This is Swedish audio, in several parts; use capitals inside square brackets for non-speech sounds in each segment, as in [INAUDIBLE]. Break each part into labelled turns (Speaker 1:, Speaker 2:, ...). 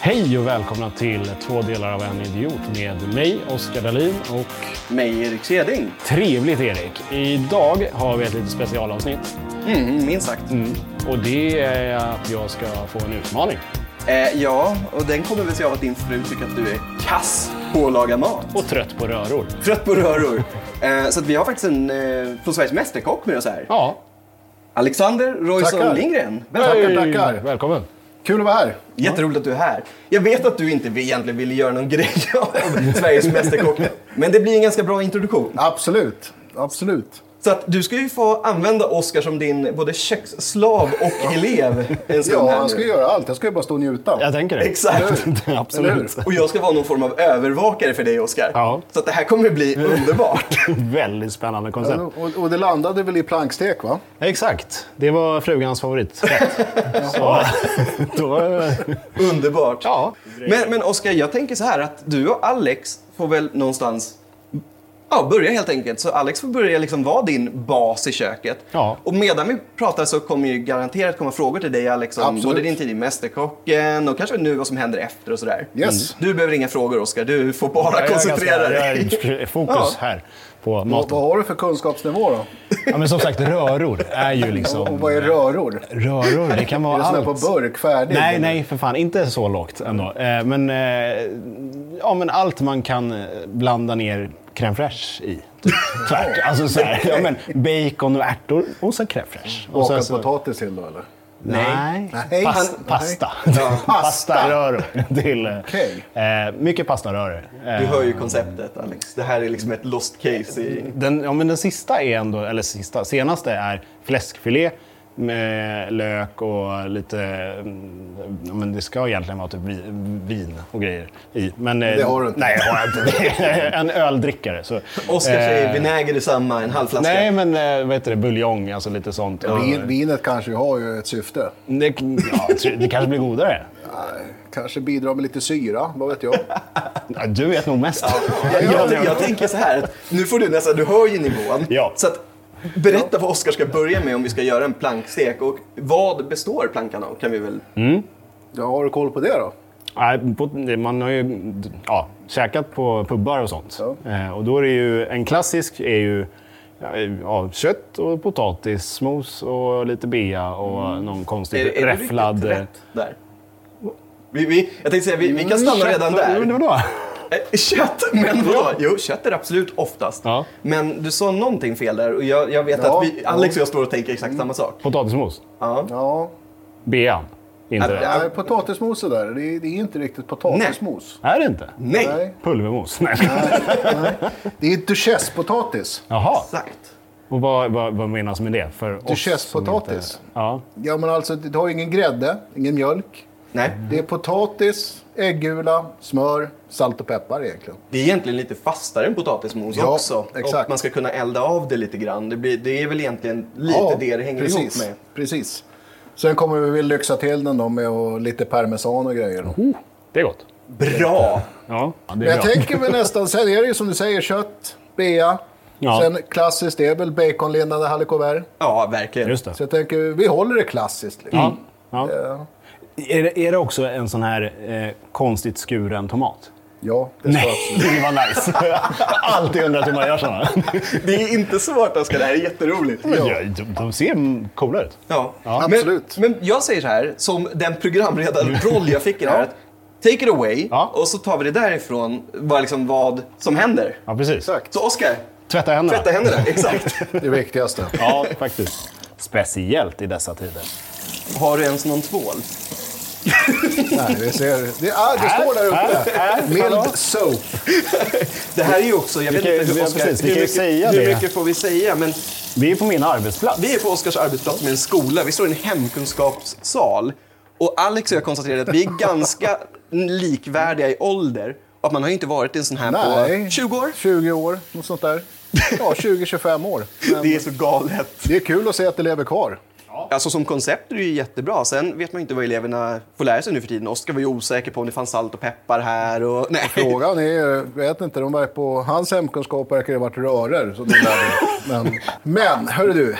Speaker 1: Hej och välkomna till två delar av en idiot med mig, Oskar Dahlin och
Speaker 2: Mig, Erik Seding.
Speaker 1: trevligt Erik. Idag har vi ett litet specialavsnitt
Speaker 2: Mm, minst sagt.
Speaker 1: och det är att jag ska få en utmaning.
Speaker 2: Eh, ja, och den kommer väl sig av att din fru tycker att du är kass på att laga mat.
Speaker 1: Och trött på röror.
Speaker 2: Trött på röror. Eh, så att vi har faktiskt en eh, från Sveriges Mästerkock med oss här.
Speaker 1: Ja,
Speaker 2: Alexander Roysson
Speaker 3: Tackar.
Speaker 2: Lindgren. Välkommen.
Speaker 3: Tackar,
Speaker 1: Hej!
Speaker 3: tackar.
Speaker 1: Välkommen.
Speaker 3: Kul att vara här.
Speaker 2: Jätteroligt att du är här. Jag vet att du inte egentligen ville göra någon grej [LAUGHS] av Sveriges Mästerkock. Men det blir en ganska bra introduktion.
Speaker 3: Absolut. Absolut.
Speaker 2: Så att du ska ju få använda Oscar som din både köksslav och elev en stund
Speaker 3: Ja,
Speaker 2: här nu.
Speaker 3: jag ska göra allt. Jag ska ju bara stå och njuta.
Speaker 1: Jag tänker [LAUGHS] det.
Speaker 2: Exakt.
Speaker 3: Eller
Speaker 1: Absolut.
Speaker 3: hur?
Speaker 2: Och jag ska vara någon form av övervakare för dig, Oscar.
Speaker 1: Ja. Mm.
Speaker 2: Så att det här kommer
Speaker 1: [LAUGHS]
Speaker 2: bli underbart.
Speaker 1: Väldigt spännande koncept.
Speaker 3: Och, och det landade väl i plankstek, va?
Speaker 1: Exakt. Det var frugans
Speaker 3: [LAUGHS]
Speaker 1: favoriträtt. Så, [LAUGHS] då,
Speaker 2: underbart.
Speaker 1: ja.
Speaker 2: Men, men Oscar, jag tänker så här att du och Alex får väl någonstans Ja, börja helt enkelt. Så Alex får börja liksom vara din bas i köket.
Speaker 1: Ja.
Speaker 2: Och medan vi pratar så kommer ju garanterat komma frågor till dig Alex om
Speaker 3: Absolut.
Speaker 2: både din tid i Mästerkocken och kanske nu vad som händer efter och sådär. Mm.
Speaker 3: Yes.
Speaker 2: Du behöver inga frågor Oscar, du får bara
Speaker 1: Jag är
Speaker 2: koncentrera
Speaker 1: ganska-
Speaker 2: dig.
Speaker 1: Jag är fokus
Speaker 2: Ja.
Speaker 1: här på
Speaker 3: Vad,
Speaker 1: maten.
Speaker 3: vad har du för kunskapsnivå då?
Speaker 1: Ja, men som sagt, röror är ju
Speaker 3: Och
Speaker 1: liksom...
Speaker 3: vad är röror?
Speaker 1: Röror, det kan
Speaker 3: Är
Speaker 1: vara
Speaker 3: det sån där på
Speaker 1: allt.
Speaker 3: burk, färdig?
Speaker 1: Nej, nej, för fan. Inte så lågt ändå. Eh, Men, eh, ja, men allt man kan eh, blanda ner crème fraîche i.
Speaker 3: [LAUGHS]
Speaker 1: Typ. Tvärt. Alltså så här, ja, men bacon och ärtor och så crème fraîche. Och sen
Speaker 3: Bakad
Speaker 1: så-
Speaker 3: potatis till då, eller?
Speaker 1: Nej.
Speaker 3: Nej.
Speaker 1: Pas,
Speaker 3: Han-
Speaker 1: pasta. [LAUGHS]
Speaker 3: Ja, pasta.
Speaker 1: Pastaröror. Till, eh,
Speaker 3: Okej.
Speaker 1: eh, mycket pastaröror. Eh,
Speaker 2: Du hör ju konceptet Alex. Det här är liksom ett lost case i
Speaker 1: Den, ja, men den sista är ändå, eller sista, senaste är fläskfilé med lök och lite... mm, Ja, men det ska egentligen vara typ vi- vin och grejer i. Men, eh,
Speaker 3: Det har du inte.
Speaker 1: Nej, jag har inte. [LAUGHS] Det är en öldrickare. Så,
Speaker 2: Oscar
Speaker 1: eh,
Speaker 2: säger vinäger i samma, en halv flaska.
Speaker 1: Nej, men eh, vad heter det? Buljong, alltså lite sånt. Och-
Speaker 3: Vin, vinet kanske har ju ett syfte.
Speaker 1: Det, ja, det kanske blir godare.
Speaker 3: Nej, Kanske bidrar med lite syra, vad vet jag?
Speaker 1: [LAUGHS] Ja, Du vet nog mest.
Speaker 2: jag, jag, jag, tänker så här, att nu får du nästan, du hör ju nivån.
Speaker 1: Ja.
Speaker 2: Så att, berätta vad Oscar ska börja med om vi ska göra en plankstek och vad består plankan av kan vi
Speaker 1: Mm,
Speaker 2: väl?
Speaker 3: Ja, har du koll på det då?
Speaker 1: Nej, på- Man har ju ja, käkat på pubbar och sånt.
Speaker 3: Ja.
Speaker 1: Eh, Och då är det ju, en klassisk är ju ja, ja, kött och potatis, mos och lite bea och någon konstig
Speaker 2: Mm. Är, är du riktigt
Speaker 1: räfflad... eh.
Speaker 2: rätt där? Vi, vi, jag tänkte säga, vi, vi kan stanna
Speaker 1: Mm, Kött-
Speaker 2: redan
Speaker 1: eh, Men
Speaker 2: där.
Speaker 1: vadå?
Speaker 2: Eh, Kött, men vadå? Jo, kött är absolut oftast.
Speaker 1: Ja.
Speaker 2: Men du sa någonting fel där och jag, jag vet
Speaker 3: Ja,
Speaker 2: att vi,
Speaker 3: ja.
Speaker 2: Alex och jag står och tänker exakt samma sak.
Speaker 1: Potatismos?
Speaker 2: Ja.
Speaker 3: Ja.
Speaker 1: Bean? Inte
Speaker 2: Ja,
Speaker 1: rätt.
Speaker 3: Nej, potatismos är där. Det är, det är inte riktigt potatismos.
Speaker 1: Är det inte?
Speaker 2: Nej,
Speaker 3: Nej.
Speaker 1: Pulvermos? Nej.
Speaker 2: [LAUGHS]
Speaker 3: Det är duchesspotatis.
Speaker 1: Jaha.
Speaker 2: exakt.
Speaker 1: Och vad, vad, vad menas med det? För oss
Speaker 3: Duchesspotatis.
Speaker 1: som inte- Ja.
Speaker 3: Ja, men alltså, det har ju ingen grädde, ingen mjölk.
Speaker 2: Nej.
Speaker 3: Det är potatis, äggula, smör, salt och peppar egentligen.
Speaker 2: Det är egentligen lite fastare än potatismos
Speaker 3: Ja,
Speaker 2: också. Och
Speaker 3: exakt.
Speaker 2: man ska kunna elda av det lite grann. Det, blir, det är väl egentligen lite det det hänger
Speaker 3: precis,
Speaker 2: ihop med.
Speaker 3: Precis. Sen kommer vi väl lyxa till den då med och lite parmesan och grejer. Då.
Speaker 1: Oh, Det är gott.
Speaker 2: Bra!
Speaker 1: Ja, det
Speaker 3: Men
Speaker 1: är
Speaker 3: jag
Speaker 1: bra.
Speaker 3: tänker väl nästan, sen är det ju som du säger kött, bea.
Speaker 1: Ja.
Speaker 3: Sen klassiskt, det är väl baconlindade hallec au vert.
Speaker 2: Ja, verkligen.
Speaker 1: Just det.
Speaker 3: Så jag tänker, vi håller det klassiskt. Liksom.
Speaker 1: Ja. Ja. Eh. Är, det, är det också en sån här eh, konstigt skuren tomat?
Speaker 3: Ja, det ska absolut.
Speaker 1: [LAUGHS] det var nice. Jag
Speaker 3: [LAUGHS]
Speaker 1: har alltid undrat hur man gör såna.
Speaker 2: Det är inte svårt Oskar, det här är jätteroligt.
Speaker 1: [LAUGHS] Ja, de, de ser coola ut.
Speaker 2: Ja.
Speaker 3: absolut.
Speaker 2: Men, men jag säger så här, som den programledarroll jag fick i det här.
Speaker 3: Ja.
Speaker 2: att Take it away
Speaker 1: Mm. Ja.
Speaker 2: och så tar vi det därifrån, vad, liksom, vad som händer.
Speaker 1: Ja, precis.
Speaker 3: Exakt.
Speaker 2: Så Oskar,
Speaker 1: Tvätta händerna.
Speaker 2: tvätta händerna.
Speaker 1: [LAUGHS]
Speaker 2: Exakt.
Speaker 3: Det viktigaste.
Speaker 1: Ja, faktiskt. Speciellt i dessa tider.
Speaker 2: Har du ens någon tvål?
Speaker 3: Nej, vi ser. Det, ah, det står där uppe. Mild soap.
Speaker 2: Det här är ju också, jag vet
Speaker 1: kan-
Speaker 2: inte hur
Speaker 1: ja,
Speaker 2: Oskar...
Speaker 1: precis, vi
Speaker 2: hur
Speaker 1: kan ju
Speaker 2: mycket,
Speaker 1: säga
Speaker 2: hur
Speaker 1: det.
Speaker 2: mycket får vi säga? Men
Speaker 1: Vi är på min arbetsplats.
Speaker 2: Vi är på Oskars arbetsplats med en skola. Vi står i en hemkunskapssal. Och Alex och jag konstaterade att vi är ganska likvärdiga i ålder. Och att man har ju inte varit i en sån här på
Speaker 3: Nej.
Speaker 2: 20 år.
Speaker 3: 20 år, något sånt där. Ja, 20-25 år. Men
Speaker 2: Det är så galet.
Speaker 3: det är kul att se att det lever kvar.
Speaker 2: Alltså som koncept är det ju jättebra. Sen vet man ju inte vad eleverna får lära sig nu för tiden. Oskar var ju osäker på om det fanns salt och peppar här och... [LAUGHS] Nej.
Speaker 3: Frågan är, vet inte, de verkar på, hans hemkunskap verkar ju ha varit röror. Så de lärde. men men hörru du,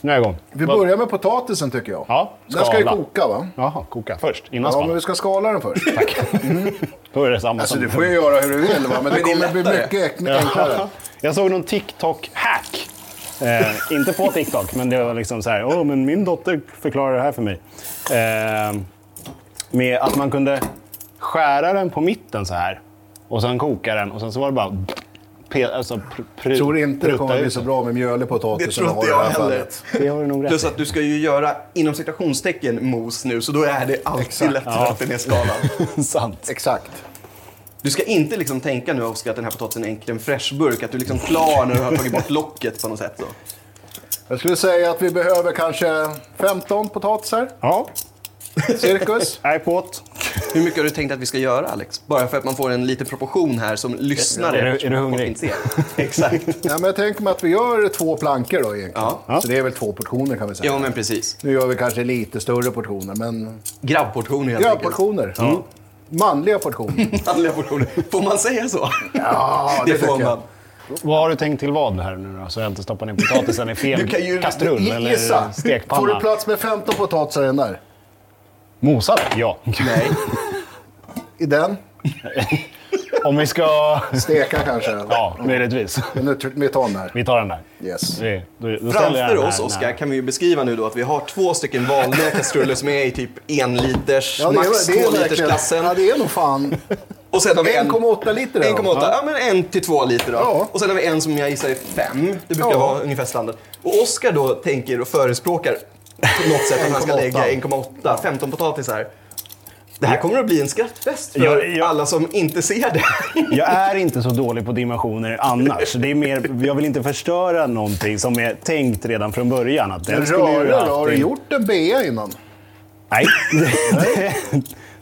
Speaker 1: Nu är jag igång.
Speaker 3: Vi
Speaker 1: Vad-
Speaker 3: börjar med potatisen tycker jag.
Speaker 1: Ja,
Speaker 3: den ska ju
Speaker 1: skala.
Speaker 3: koka va?
Speaker 1: Jaha, koka först. Innan
Speaker 3: Ja, men vi
Speaker 1: span.
Speaker 3: ska skala den först.
Speaker 1: Då är det samma
Speaker 3: Alltså
Speaker 1: som...
Speaker 3: du får ju göra hur du vill va, men det
Speaker 2: Men det är
Speaker 3: kommer bli
Speaker 2: lättare.
Speaker 3: mycket enk-
Speaker 1: Ja.
Speaker 3: enklare.
Speaker 1: Jag såg någon TikTok-hack. Eh, inte på TikTok, men det var liksom så här. Åh, men min dotter förklarade det här för mig. Eh, med att man kunde skära den på mitten så här. Och sen koka den och sen så var det bara... Pe- alltså, pr- pr-
Speaker 3: Jag tror inte det kommer
Speaker 1: prutta
Speaker 3: bli
Speaker 1: ut
Speaker 3: så
Speaker 1: den.
Speaker 3: bra med mjölig potatis.
Speaker 2: Det
Speaker 3: som
Speaker 2: tror
Speaker 3: har
Speaker 2: inte
Speaker 3: i det
Speaker 2: jag
Speaker 3: här
Speaker 2: heller.
Speaker 3: fallet.
Speaker 1: Det har du nog rätt
Speaker 2: Plus
Speaker 1: i.
Speaker 2: att du ska ju göra inom citationstecken mos nu, så då är det alltid
Speaker 3: Exakt.
Speaker 2: lättare att den är skalad.
Speaker 1: Sant.
Speaker 3: Exakt.
Speaker 2: Du ska inte liksom tänka nu Oskar att den här potatisen är en crème fraîche-burk, att du är liksom klar när du har tagit bort locket på något sätt. Så.
Speaker 3: Jag skulle säga att vi behöver kanske 15 potatisar,
Speaker 1: Ja,
Speaker 3: cirkus.
Speaker 1: jag är på åt.
Speaker 2: Hur mycket har du tänkt att vi ska göra Alex? Bara för att man får en liten proportion här som lyssnare.
Speaker 1: Är du- är du
Speaker 2: eftersom folk
Speaker 1: hungrig?
Speaker 2: inte ser. Exakt.
Speaker 3: Ja, men jag tänker mig att vi gör två plankor då egentligen.
Speaker 2: Ja.
Speaker 3: Så det är väl två portioner kan vi säga.
Speaker 2: Jo men precis.
Speaker 3: Nu gör vi kanske lite större portioner, men...
Speaker 2: Grabbportioner helt
Speaker 3: Ja,
Speaker 2: enkelt.
Speaker 3: portioner. Mm. Manliga portioner.
Speaker 2: [LAUGHS] Manliga portioner. Får man säga så?
Speaker 3: Ja,
Speaker 2: det får
Speaker 3: tycker jag.
Speaker 2: man.
Speaker 1: Vad har du tänkt till vad här nu då? Så jag inte stoppar ner potatisen i fel
Speaker 2: Du kan ju-
Speaker 1: kastrull eller
Speaker 3: Gissa! Får du
Speaker 1: stekpanna.
Speaker 3: plats med 15 potatisar i den där?
Speaker 1: Mosade? Ja.
Speaker 2: Nej.
Speaker 3: I den?
Speaker 1: Om vi ska...
Speaker 3: Steka kanske?
Speaker 1: [LAUGHS] Ja, möjligtvis.
Speaker 3: Men nu, tr- vi tar den där.
Speaker 1: Vi tar den där.
Speaker 3: Yes.
Speaker 1: Vi- Då, då ställer jag
Speaker 2: Framför
Speaker 1: den här
Speaker 2: oss,
Speaker 1: när-
Speaker 2: Oskar, kan vi ju beskriva nu då att vi har två stycken vanliga kastruller som är i typ en liters,
Speaker 3: Ja, det
Speaker 2: max
Speaker 3: är, det
Speaker 2: två
Speaker 3: är
Speaker 2: liters
Speaker 3: verkligen...
Speaker 2: klassen.
Speaker 3: Ja, det är
Speaker 2: [LAUGHS]
Speaker 3: nog fan...
Speaker 2: Och sen har vi en...
Speaker 3: 1,8 liter. är det, va?
Speaker 2: 1,8, ja men en till två liter då.
Speaker 3: Ja.
Speaker 2: Och sen har vi en som jag gissar är fem. Det brukar
Speaker 3: Ja.
Speaker 2: vara ungefär standard. Och Oskar då tänker och förespråkar på något sätt att man ska
Speaker 3: 1,8.
Speaker 2: lägga 1,8, 15 potatisar. Det här kommer att bli en skrattfest för
Speaker 1: Jag- jag-
Speaker 2: alla som inte ser det. [LAUGHS]
Speaker 1: Jag är inte så dålig på dimensioner annars. Det är mer, jag vill inte förstöra någonting som är tänkt redan från början. Att den
Speaker 3: Men
Speaker 1: skulle ju
Speaker 3: Röra,
Speaker 1: haft
Speaker 3: då? har du
Speaker 1: en-
Speaker 3: gjort en BA innan?
Speaker 1: Nej, [LAUGHS] det,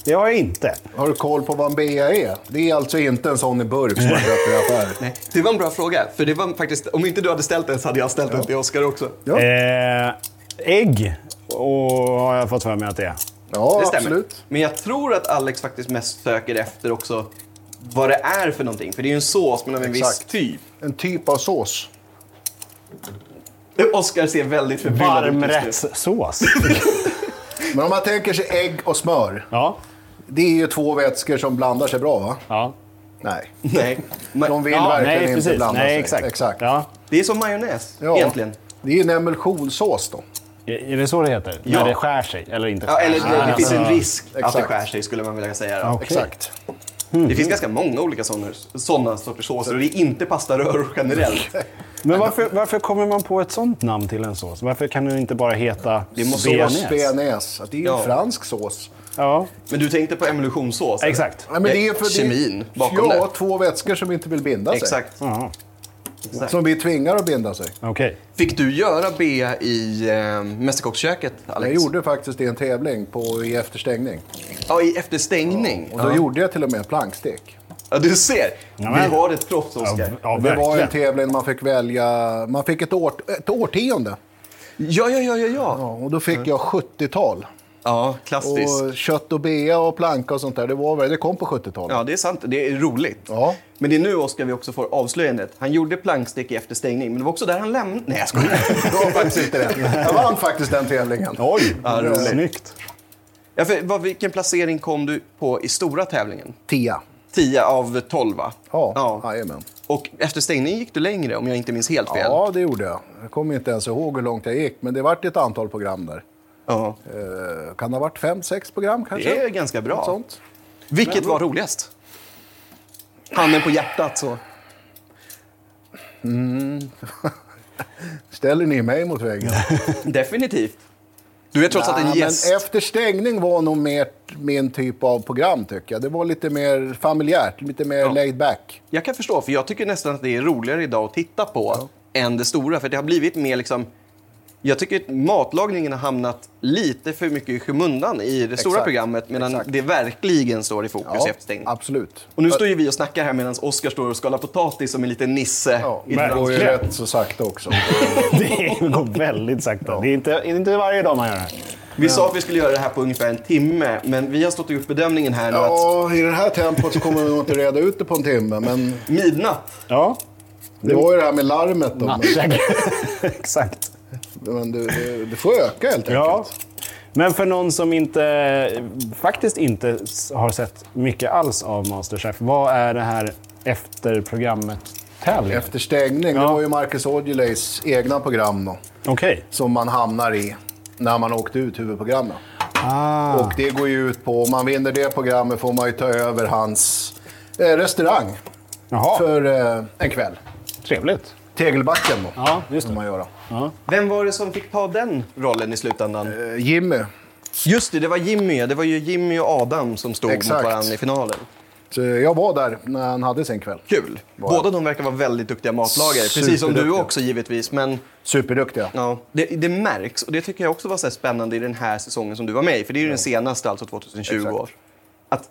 Speaker 1: det har jag inte.
Speaker 3: Har du koll på vad en BA är? Det är alltså inte en sån i burk som man köper i affär.
Speaker 2: Nej, det var en bra fråga. För det var faktiskt, om inte du hade ställt den så hade jag ställt den till Oskar också.
Speaker 3: Ja,
Speaker 1: Eh, ägg och har jag fått för mig att det är.
Speaker 3: ja
Speaker 2: Det stämmer.
Speaker 3: absolut.
Speaker 2: Men jag tror att Alex faktiskt mest söker efter också vad det är för någonting. För det är ju en sås men av en viss
Speaker 3: Exakt.
Speaker 2: typ.
Speaker 3: En typ av sås.
Speaker 2: Oskar ser väldigt förbryllad ut just nu.
Speaker 3: [LAUGHS]
Speaker 1: Varmrättssås.
Speaker 3: Men om man tänker sig ägg och smör.
Speaker 1: Ja,
Speaker 3: Det är ju två vätskor som blandar sig bra, va?
Speaker 1: ja.
Speaker 3: Nej.
Speaker 2: Nej. Men-
Speaker 3: De vill
Speaker 1: ja
Speaker 3: verkligen
Speaker 1: nej,
Speaker 3: inte
Speaker 1: precis.
Speaker 3: blanda
Speaker 1: nej,
Speaker 3: sig.
Speaker 1: Exakt. Ja.
Speaker 2: Det är som majonnäs,
Speaker 3: Ja.
Speaker 2: egentligen.
Speaker 3: Det är ju en emulsionssås då.
Speaker 1: Är det så det heter?
Speaker 2: Ja.
Speaker 1: När det skär sig? Eller inte?
Speaker 2: Ja, eller
Speaker 1: skär sig.
Speaker 2: det, det finns en risk att det
Speaker 3: Exakt.
Speaker 2: skär sig, skulle man vilja säga. då.
Speaker 1: Alltså, Ja, okej.
Speaker 3: Exakt.
Speaker 2: Det finns ganska många olika sådana, sådana sorters såser och det är inte pastaröror
Speaker 3: [LAUGHS]
Speaker 2: generellt.
Speaker 1: Men varför, varför kommer man på ett sånt namn till en sås? Varför kan den inte bara heta
Speaker 2: måste vara
Speaker 1: bearnaise?
Speaker 3: Sås bearnaise. Det är ju
Speaker 2: Ja.
Speaker 3: fransk sås.
Speaker 1: Ja,
Speaker 2: Men du tänkte på emulsionssås? eller?
Speaker 1: exakt.
Speaker 3: Nej, men det är för
Speaker 2: Kemin
Speaker 3: det,
Speaker 2: bakom
Speaker 3: ja,
Speaker 2: det.
Speaker 3: två vätskor som inte vill binda sig.
Speaker 2: Exakt.
Speaker 1: Jaha,
Speaker 3: Som vi tvingar att binda sig.
Speaker 1: Okej.
Speaker 2: Fick du göra B i eh, Mästerkocksköket, Alex?
Speaker 3: Jag gjorde faktiskt det i en tävling på, i efterstängning.
Speaker 2: Ja, i efter stängning.
Speaker 3: Och då gjorde jag till och med en plankstek.
Speaker 2: Ja, du ser! Vi
Speaker 1: men-
Speaker 2: har ett proffs,
Speaker 1: Ja,
Speaker 2: Oskar.
Speaker 1: ja,
Speaker 3: Det var en
Speaker 1: verkligen.
Speaker 3: tävling man fick välja, man fick ett, årt, ett årtionde.
Speaker 2: Ja, ja, ja, ja, ja.
Speaker 3: Ja, och då fick
Speaker 2: Mm.
Speaker 3: jag 70-tal.
Speaker 2: Ja, klassiskt.
Speaker 3: Och kött och bea och planka och sånt där, det, var, väl- det kom på 70-talet.
Speaker 2: Ja, det är sant. Det är roligt.
Speaker 3: Ja.
Speaker 2: Men det är nu, Oskar, vi också får avslöjandet. Han gjorde plankstek i efter stängning, men det var också där han lämnade... Nej, jag skojar.
Speaker 3: [LAUGHS] Det var faktiskt inte det. [LAUGHS] Jag vann faktiskt den tävlingen.
Speaker 1: Oj,
Speaker 2: Ja, roligt.
Speaker 1: snyggt. [LAUGHS]
Speaker 2: Ja, för vad, vilken placering kom du på i stora tävlingen?
Speaker 3: Tia.
Speaker 2: 10 av 12, va?
Speaker 3: Ja,
Speaker 2: ja.
Speaker 3: jajamän.
Speaker 2: Och efter stängningen gick du längre, om jag inte minns helt fel.
Speaker 3: Ja, det gjorde jag. Jag kommer inte ens ihåg hur långt jag gick, men det vart ett antal program där.
Speaker 2: Ja.
Speaker 3: Eh, Kan det ha varit fem, sex program kanske?
Speaker 2: Det är ganska bra.
Speaker 3: Något sånt.
Speaker 2: Vilket var roligast? Handen på hjärtat,
Speaker 3: [LAUGHS]
Speaker 2: så.
Speaker 3: Ställer ni mig
Speaker 2: [LAUGHS]
Speaker 3: mot väggen?
Speaker 2: Definitivt. Du är trots allt
Speaker 3: Ja,
Speaker 2: en
Speaker 3: men
Speaker 2: gäst.
Speaker 3: efter stängning var nog mer min typ av program, tycker jag. Det var lite mer familjärt, lite mer laid back.
Speaker 2: Jag kan förstå, för jag tycker nästan att det är roligare idag att titta på än det stora. För det har blivit mer liksom... Jag tycker att matlagningen har hamnat lite för mycket i skymundan i det stora
Speaker 3: Exakt.
Speaker 2: programmet medan
Speaker 3: Exakt.
Speaker 2: det verkligen står i fokus efter stängning.
Speaker 3: absolut.
Speaker 2: Och nu står ju vi och snackar här medan Oskar står och skalar potatis som en liten nisse.
Speaker 3: Ja,
Speaker 2: i
Speaker 3: det
Speaker 1: men-
Speaker 2: ett
Speaker 3: går ju
Speaker 1: verkligen.
Speaker 3: rätt så sakta också.
Speaker 1: Det går väldigt sakta. Det är inte, det är inte varje dag man gör det. här.
Speaker 2: Vi sa att vi skulle göra det här på ungefär en timme, men vi har stått och gjort bedömningen här nu att
Speaker 3: Ja, i det här tempot så kommer vi nog inte reda ut det på en timme, men
Speaker 2: midnatt,
Speaker 1: Ja,
Speaker 3: det var ju det här med larmet. Då. Men
Speaker 1: [LAUGHS] exakt.
Speaker 3: Men du, du, du får öka helt enkelt.
Speaker 1: Ja. Men för någon som inte, faktiskt inte s- har sett mycket alls av Masterchef, vad är det här efterprogrammet-tävlingen?
Speaker 3: Efter stängning, det
Speaker 1: Ja.
Speaker 3: var ju Marcus Aujalays egna program då,
Speaker 1: Okej.
Speaker 3: som man hamnar i när man åkte ut huvudprogrammet.
Speaker 1: Ah.
Speaker 3: Och det går ju ut på, om man vinner det programmet får man ju ta över hans eh, restaurang
Speaker 1: Jaha,
Speaker 3: för eh, en kväll.
Speaker 1: trevligt.
Speaker 3: Tegelbacken då,
Speaker 1: Ja, just
Speaker 3: får
Speaker 1: det.
Speaker 3: man göra.
Speaker 2: Vem var det som fick ta den rollen i slutändan?
Speaker 3: Eh, Jimmy,
Speaker 2: Just det, det var Jimmy. Det var ju Jimmy och Adam som stod
Speaker 3: Exakt.
Speaker 2: mot varandra i finalen.
Speaker 3: så jag var där när han hade sin kväll.
Speaker 2: Kul. Båda de verkar vara väldigt duktiga matlagare. Precis som du
Speaker 3: Superduktiga.
Speaker 2: också givetvis. Men
Speaker 3: Superduktiga.
Speaker 2: ja, det, det märks. Och det tycker jag också var så här spännande i den här säsongen som du var med i. För det är ju den senaste, alltså 2020.
Speaker 3: Exakt.
Speaker 2: Att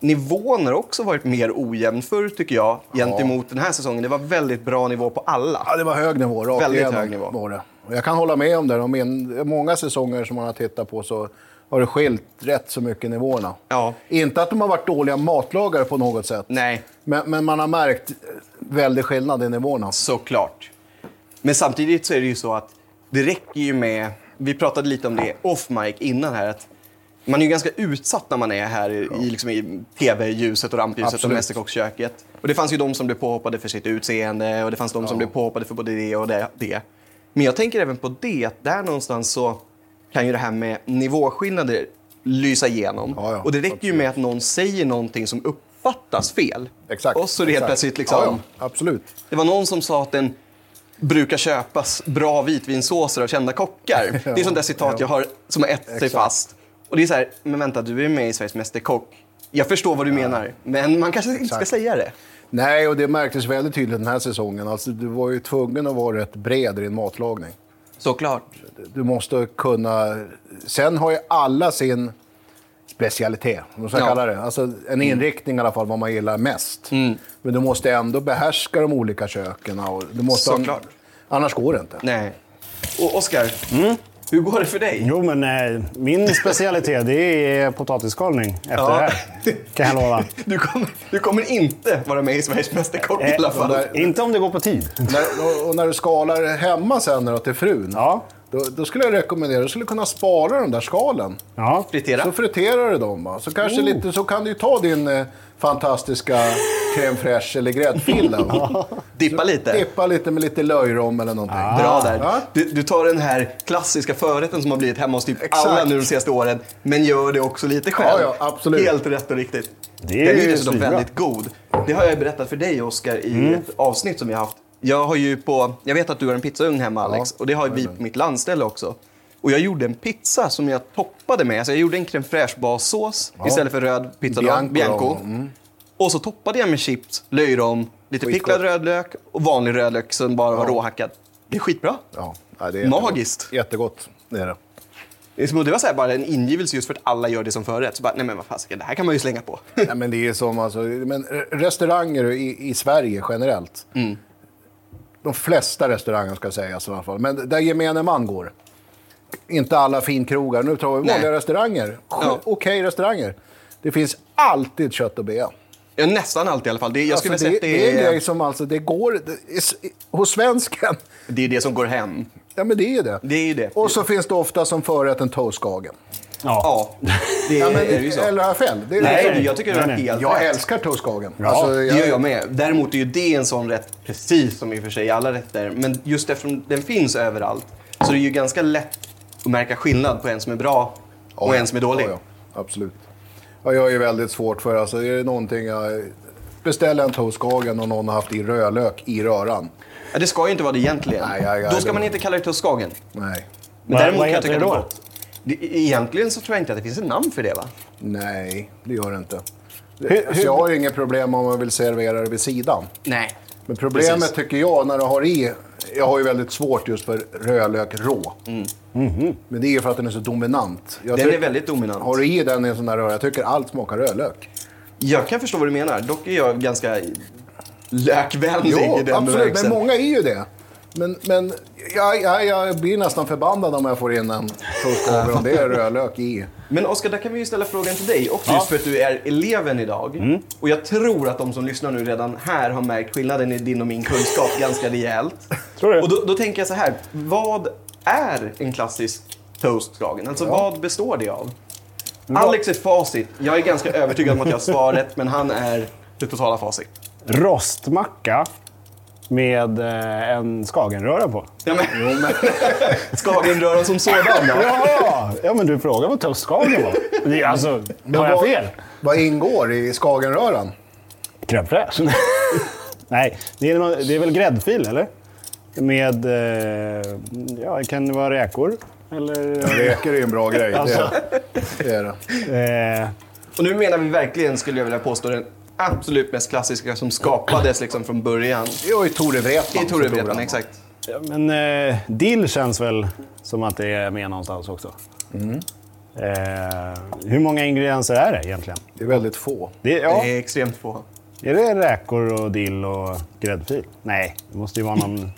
Speaker 2: nivån har också varit mer ojämn förr tycker jag. Gentemot den här säsongen. Det var väldigt bra nivå på alla.
Speaker 3: Ja, det var hög nivå, rakt
Speaker 2: Väldigt
Speaker 3: igenom
Speaker 2: hög nivå.
Speaker 3: var det. Och jag kan hålla med om det. De in, många säsonger som man har tittat på så har det skilt rätt så mycket nivåerna.
Speaker 2: Ja.
Speaker 3: Inte att de har varit dåliga matlagare på något sätt.
Speaker 2: Nej.
Speaker 3: Men, men man har märkt väldigt skillnad i nivåerna.
Speaker 2: Såklart. Men samtidigt så är det ju så att det räcker ju med... Vi pratade lite om det off mic innan här. Att man är ju ganska utsatt när man är här i, i liksom i tv-ljuset och rampljuset
Speaker 3: Absolut.
Speaker 2: och mästerkocksköket. Och det fanns ju de som blev påhoppade för sitt utseende och det fanns de som blev påhoppade för både det och det, det. Men jag tänker även på det, att där någonstans så kan ju det här med nivåskillnader lysa igenom.
Speaker 3: Ja, ja.
Speaker 2: Och det räcker ju med att någon säger någonting som uppfattas fel.
Speaker 3: Exakt.
Speaker 2: Och så är det helt
Speaker 3: Exakt.
Speaker 2: plötsligt liksom...
Speaker 3: Ja, ja. Absolut.
Speaker 2: Det var någon som sa att den brukar köpas bra vitvinsåser av kända kockar. Det är sånt där citat jag har som har ätit sig
Speaker 3: Exakt.
Speaker 2: fast. Och det är så här, men vänta, du är med i Sveriges Mästerkock. Jag förstår vad du menar, men man kanske inte ska
Speaker 3: Exakt.
Speaker 2: säga det.
Speaker 3: Nej, och det märktes väldigt tydligt den här säsongen. Alltså, du var ju tvungen att vara rätt bred i din matlagning.
Speaker 2: Såklart.
Speaker 3: Du måste kunna... Sen har ju alla sin specialitet, om man ska
Speaker 2: Ja. Mm.
Speaker 3: kalla det. Alltså en inriktning i alla fall, vad man gillar mest. Men du måste ändå behärska de olika köken. Och du måste ha en-
Speaker 2: Såklart.
Speaker 3: Annars går det inte.
Speaker 2: Nej. Och Oskar, hur går det för dig?
Speaker 1: Jo, men eh,
Speaker 2: [LAUGHS]
Speaker 1: min specialitet det är potatisskalning efter
Speaker 2: Ja.
Speaker 1: det här. Kan jag lova.
Speaker 2: Du kommer, du kommer inte vara med i Sveriges Mästerkock [LAUGHS] i alla
Speaker 1: Eh,
Speaker 2: fall.
Speaker 1: Inte om det går på tid.
Speaker 3: När, och- och när du skalar hemma sen då till frun,
Speaker 1: Ja.
Speaker 3: då, då skulle jag rekommendera du skulle kunna spara de där skalen.
Speaker 1: Ja.
Speaker 2: Fritera.
Speaker 3: Så friterar du dem. Va? Så,
Speaker 2: Oh.
Speaker 3: kanske lite, så kan du ju ta din eh, fantastiska crème fraîche eller
Speaker 2: [LAUGHS]
Speaker 3: gräddfil. där, va?
Speaker 2: Dippa lite.
Speaker 3: Dippa lite med lite löjrom eller någonting.
Speaker 2: Bra där.
Speaker 3: Ah. Ja.
Speaker 2: Du, du tar den här klassiska förrätten som har blivit hemma hos typ
Speaker 3: Exakt.
Speaker 2: alla nu de senaste åren, men gör det också lite själv.
Speaker 3: Ja, ja, absolut.
Speaker 2: Helt rätt och riktigt.
Speaker 1: Det är
Speaker 2: den är
Speaker 1: ju
Speaker 2: ju dessutom
Speaker 1: svinbra. Mm.
Speaker 2: väldigt god. Det har jag ju berättat för dig, Oskar, i ett avsnitt som jag haft. Jag har ju på... Jag vet att du har en pizzaugn hemma, Alex, och det har ju vi på mitt landställe också. Och jag gjorde en pizza som jag toppade med. Alltså jag gjorde en crème fraîche bassås istället för röd pizza bianco.
Speaker 3: Bianco. Mm.
Speaker 2: bianco. Och så toppade jag med chips, löjrom, lite picklad rödlök och vanlig rödlök som bara var råhackad. Det är skitbra.
Speaker 3: Ja, ja, det är jättegott.
Speaker 2: Magiskt.
Speaker 3: Jättegott, det är det.
Speaker 2: Det är som- det var så här bara en ingivelse just för att alla gör det som förrätt. Så bara, nej men vad fasiken, det här kan man ju slänga på. [LAUGHS]
Speaker 3: Nej, men det är som alltså, men re- restauranger i, i Sverige generellt.
Speaker 2: Mm.
Speaker 3: De flesta restauranger ska sägas i alla fall, men där gemene man går. Inte alla finkrogar, nu tar vi
Speaker 2: Nej.
Speaker 3: vanliga restauranger.
Speaker 2: Ja.
Speaker 3: Ja. Okej restauranger. Det finns alltid kött och bea.
Speaker 2: Ja, nästan alltid i alla fall. Det, jag skulle
Speaker 3: Alltså,
Speaker 2: vilja
Speaker 3: det,
Speaker 2: säga att
Speaker 3: det är en
Speaker 2: det
Speaker 3: grej
Speaker 2: är,
Speaker 3: som alltså, det går... Det, är- hos svensken,
Speaker 2: det är det som går hem.
Speaker 3: ja men det är ju det.
Speaker 2: Det är ju det.
Speaker 3: Och så finns det ofta som förrätt en toastkagen.
Speaker 1: Ja.
Speaker 2: Ja, det
Speaker 3: Ja, men,
Speaker 2: är ju så.
Speaker 3: eller har jag fel? Det är liksom-
Speaker 2: Nej,
Speaker 1: nej.
Speaker 2: jag tycker det var
Speaker 1: Nej, nej.
Speaker 2: helt
Speaker 3: Jag
Speaker 2: rätt.
Speaker 3: älskar Alltså, toastkagen.
Speaker 1: Ja,
Speaker 2: Det gör jag med. Däremot är ju det en sån rätt, precis som i och för sig alla rätter, men just eftersom den finns överallt så det är ju ganska lätt att märka skillnad på en som är bra och en som är dålig.
Speaker 3: Ja, ja. Absolut. Ja, jag är ju väldigt svårt för, alltså är det någonting jag... Beställer en toastkagen och någon har haft i rödlök i röran.
Speaker 2: Ja, Det ska ju inte vara det egentligen.
Speaker 3: Nej, ja, ja,
Speaker 2: Då ska
Speaker 3: det-
Speaker 2: man inte kalla det toskagen.
Speaker 3: Nej.
Speaker 2: Men
Speaker 1: Vad-
Speaker 2: däremot
Speaker 1: vad
Speaker 2: kan jag
Speaker 1: heter
Speaker 2: tycka
Speaker 1: det
Speaker 2: att
Speaker 1: då?
Speaker 2: det var- det- Egentligen så tror jag inte att det finns ett namn för det va?
Speaker 3: Nej, det gör det inte.
Speaker 1: Hur-
Speaker 3: Alltså, jag har ju inget problem om man vill servera det vid sidan.
Speaker 2: Nej.
Speaker 3: Men problemet
Speaker 2: Precis.
Speaker 3: tycker jag när du har i... Jag har ju väldigt svårt just för rödlök rå. Mm-hmm. Men det är ju för att den är så dominant. Jag
Speaker 2: Mm. Den
Speaker 3: tycker-
Speaker 2: är väldigt dominant.
Speaker 3: Har du i den i en sån där röra, jag tycker allt smakar rödlök.
Speaker 2: Jag kan förstå vad du menar. Dock är jag ganska lökvänlig i
Speaker 3: Jo,
Speaker 2: den
Speaker 3: absolut.
Speaker 2: bemärkelsen.
Speaker 3: Men många är ju det. Men, men jag, jag, jag blir nästan förbannad om jag får in en toastkavel om det är rödlök i.
Speaker 2: Men Oskar, där kan vi ju ställa frågan till dig också, just för att du är eleven idag.
Speaker 1: Mm.
Speaker 2: Och jag tror att de som lyssnar nu redan här
Speaker 1: [LAUGHS]
Speaker 2: har märkt skillnaden i din och min kunskap ganska rejält.
Speaker 1: Tror du?
Speaker 2: Och då, då tänker jag så här, vad är en klassisk toastkragen? Alltså vad består det av? Alex är facit. Jag är ganska övertygad om att jag har svaret, men han är det totala facit.
Speaker 1: Rostmacka med eh, en skagenröra på.
Speaker 2: Ja, men... [LAUGHS] Skagenröran som sådan då?
Speaker 1: Jaha! Ja, men du frågade vad toast skagen
Speaker 2: [LAUGHS]
Speaker 1: var. Det är Alltså, har jag
Speaker 3: vad-
Speaker 1: fel?
Speaker 3: Vad ingår i skagenröran?
Speaker 1: Crème fraîche. [LAUGHS] Nej, det är, nå- det är väl gräddfil, eller? Med, eh, ja, det kan vara räkor.
Speaker 2: [LAUGHS]
Speaker 1: Eller,
Speaker 3: Räkor är ju en bra grej.
Speaker 1: Alltså.
Speaker 3: Det, det är det.
Speaker 1: eh,
Speaker 2: Och nu menar vi verkligen, skulle jag vilja påstå, den absolut mest klassiska som skapades liksom från början.
Speaker 3: Det var ju Tore Wretman.
Speaker 2: I
Speaker 3: som tog
Speaker 2: Torevreten,
Speaker 3: den.
Speaker 2: exakt.
Speaker 1: ja, men eh, dill känns väl som att det är med någonstans också.
Speaker 3: Mm.
Speaker 1: Eh, hur många ingredienser är det egentligen?
Speaker 3: Det är väldigt få.
Speaker 1: Det, ja,
Speaker 2: Det är extremt få.
Speaker 1: är det räkor och dill och gräddfil? Nej, det måste ju vara någon,
Speaker 3: [LAUGHS]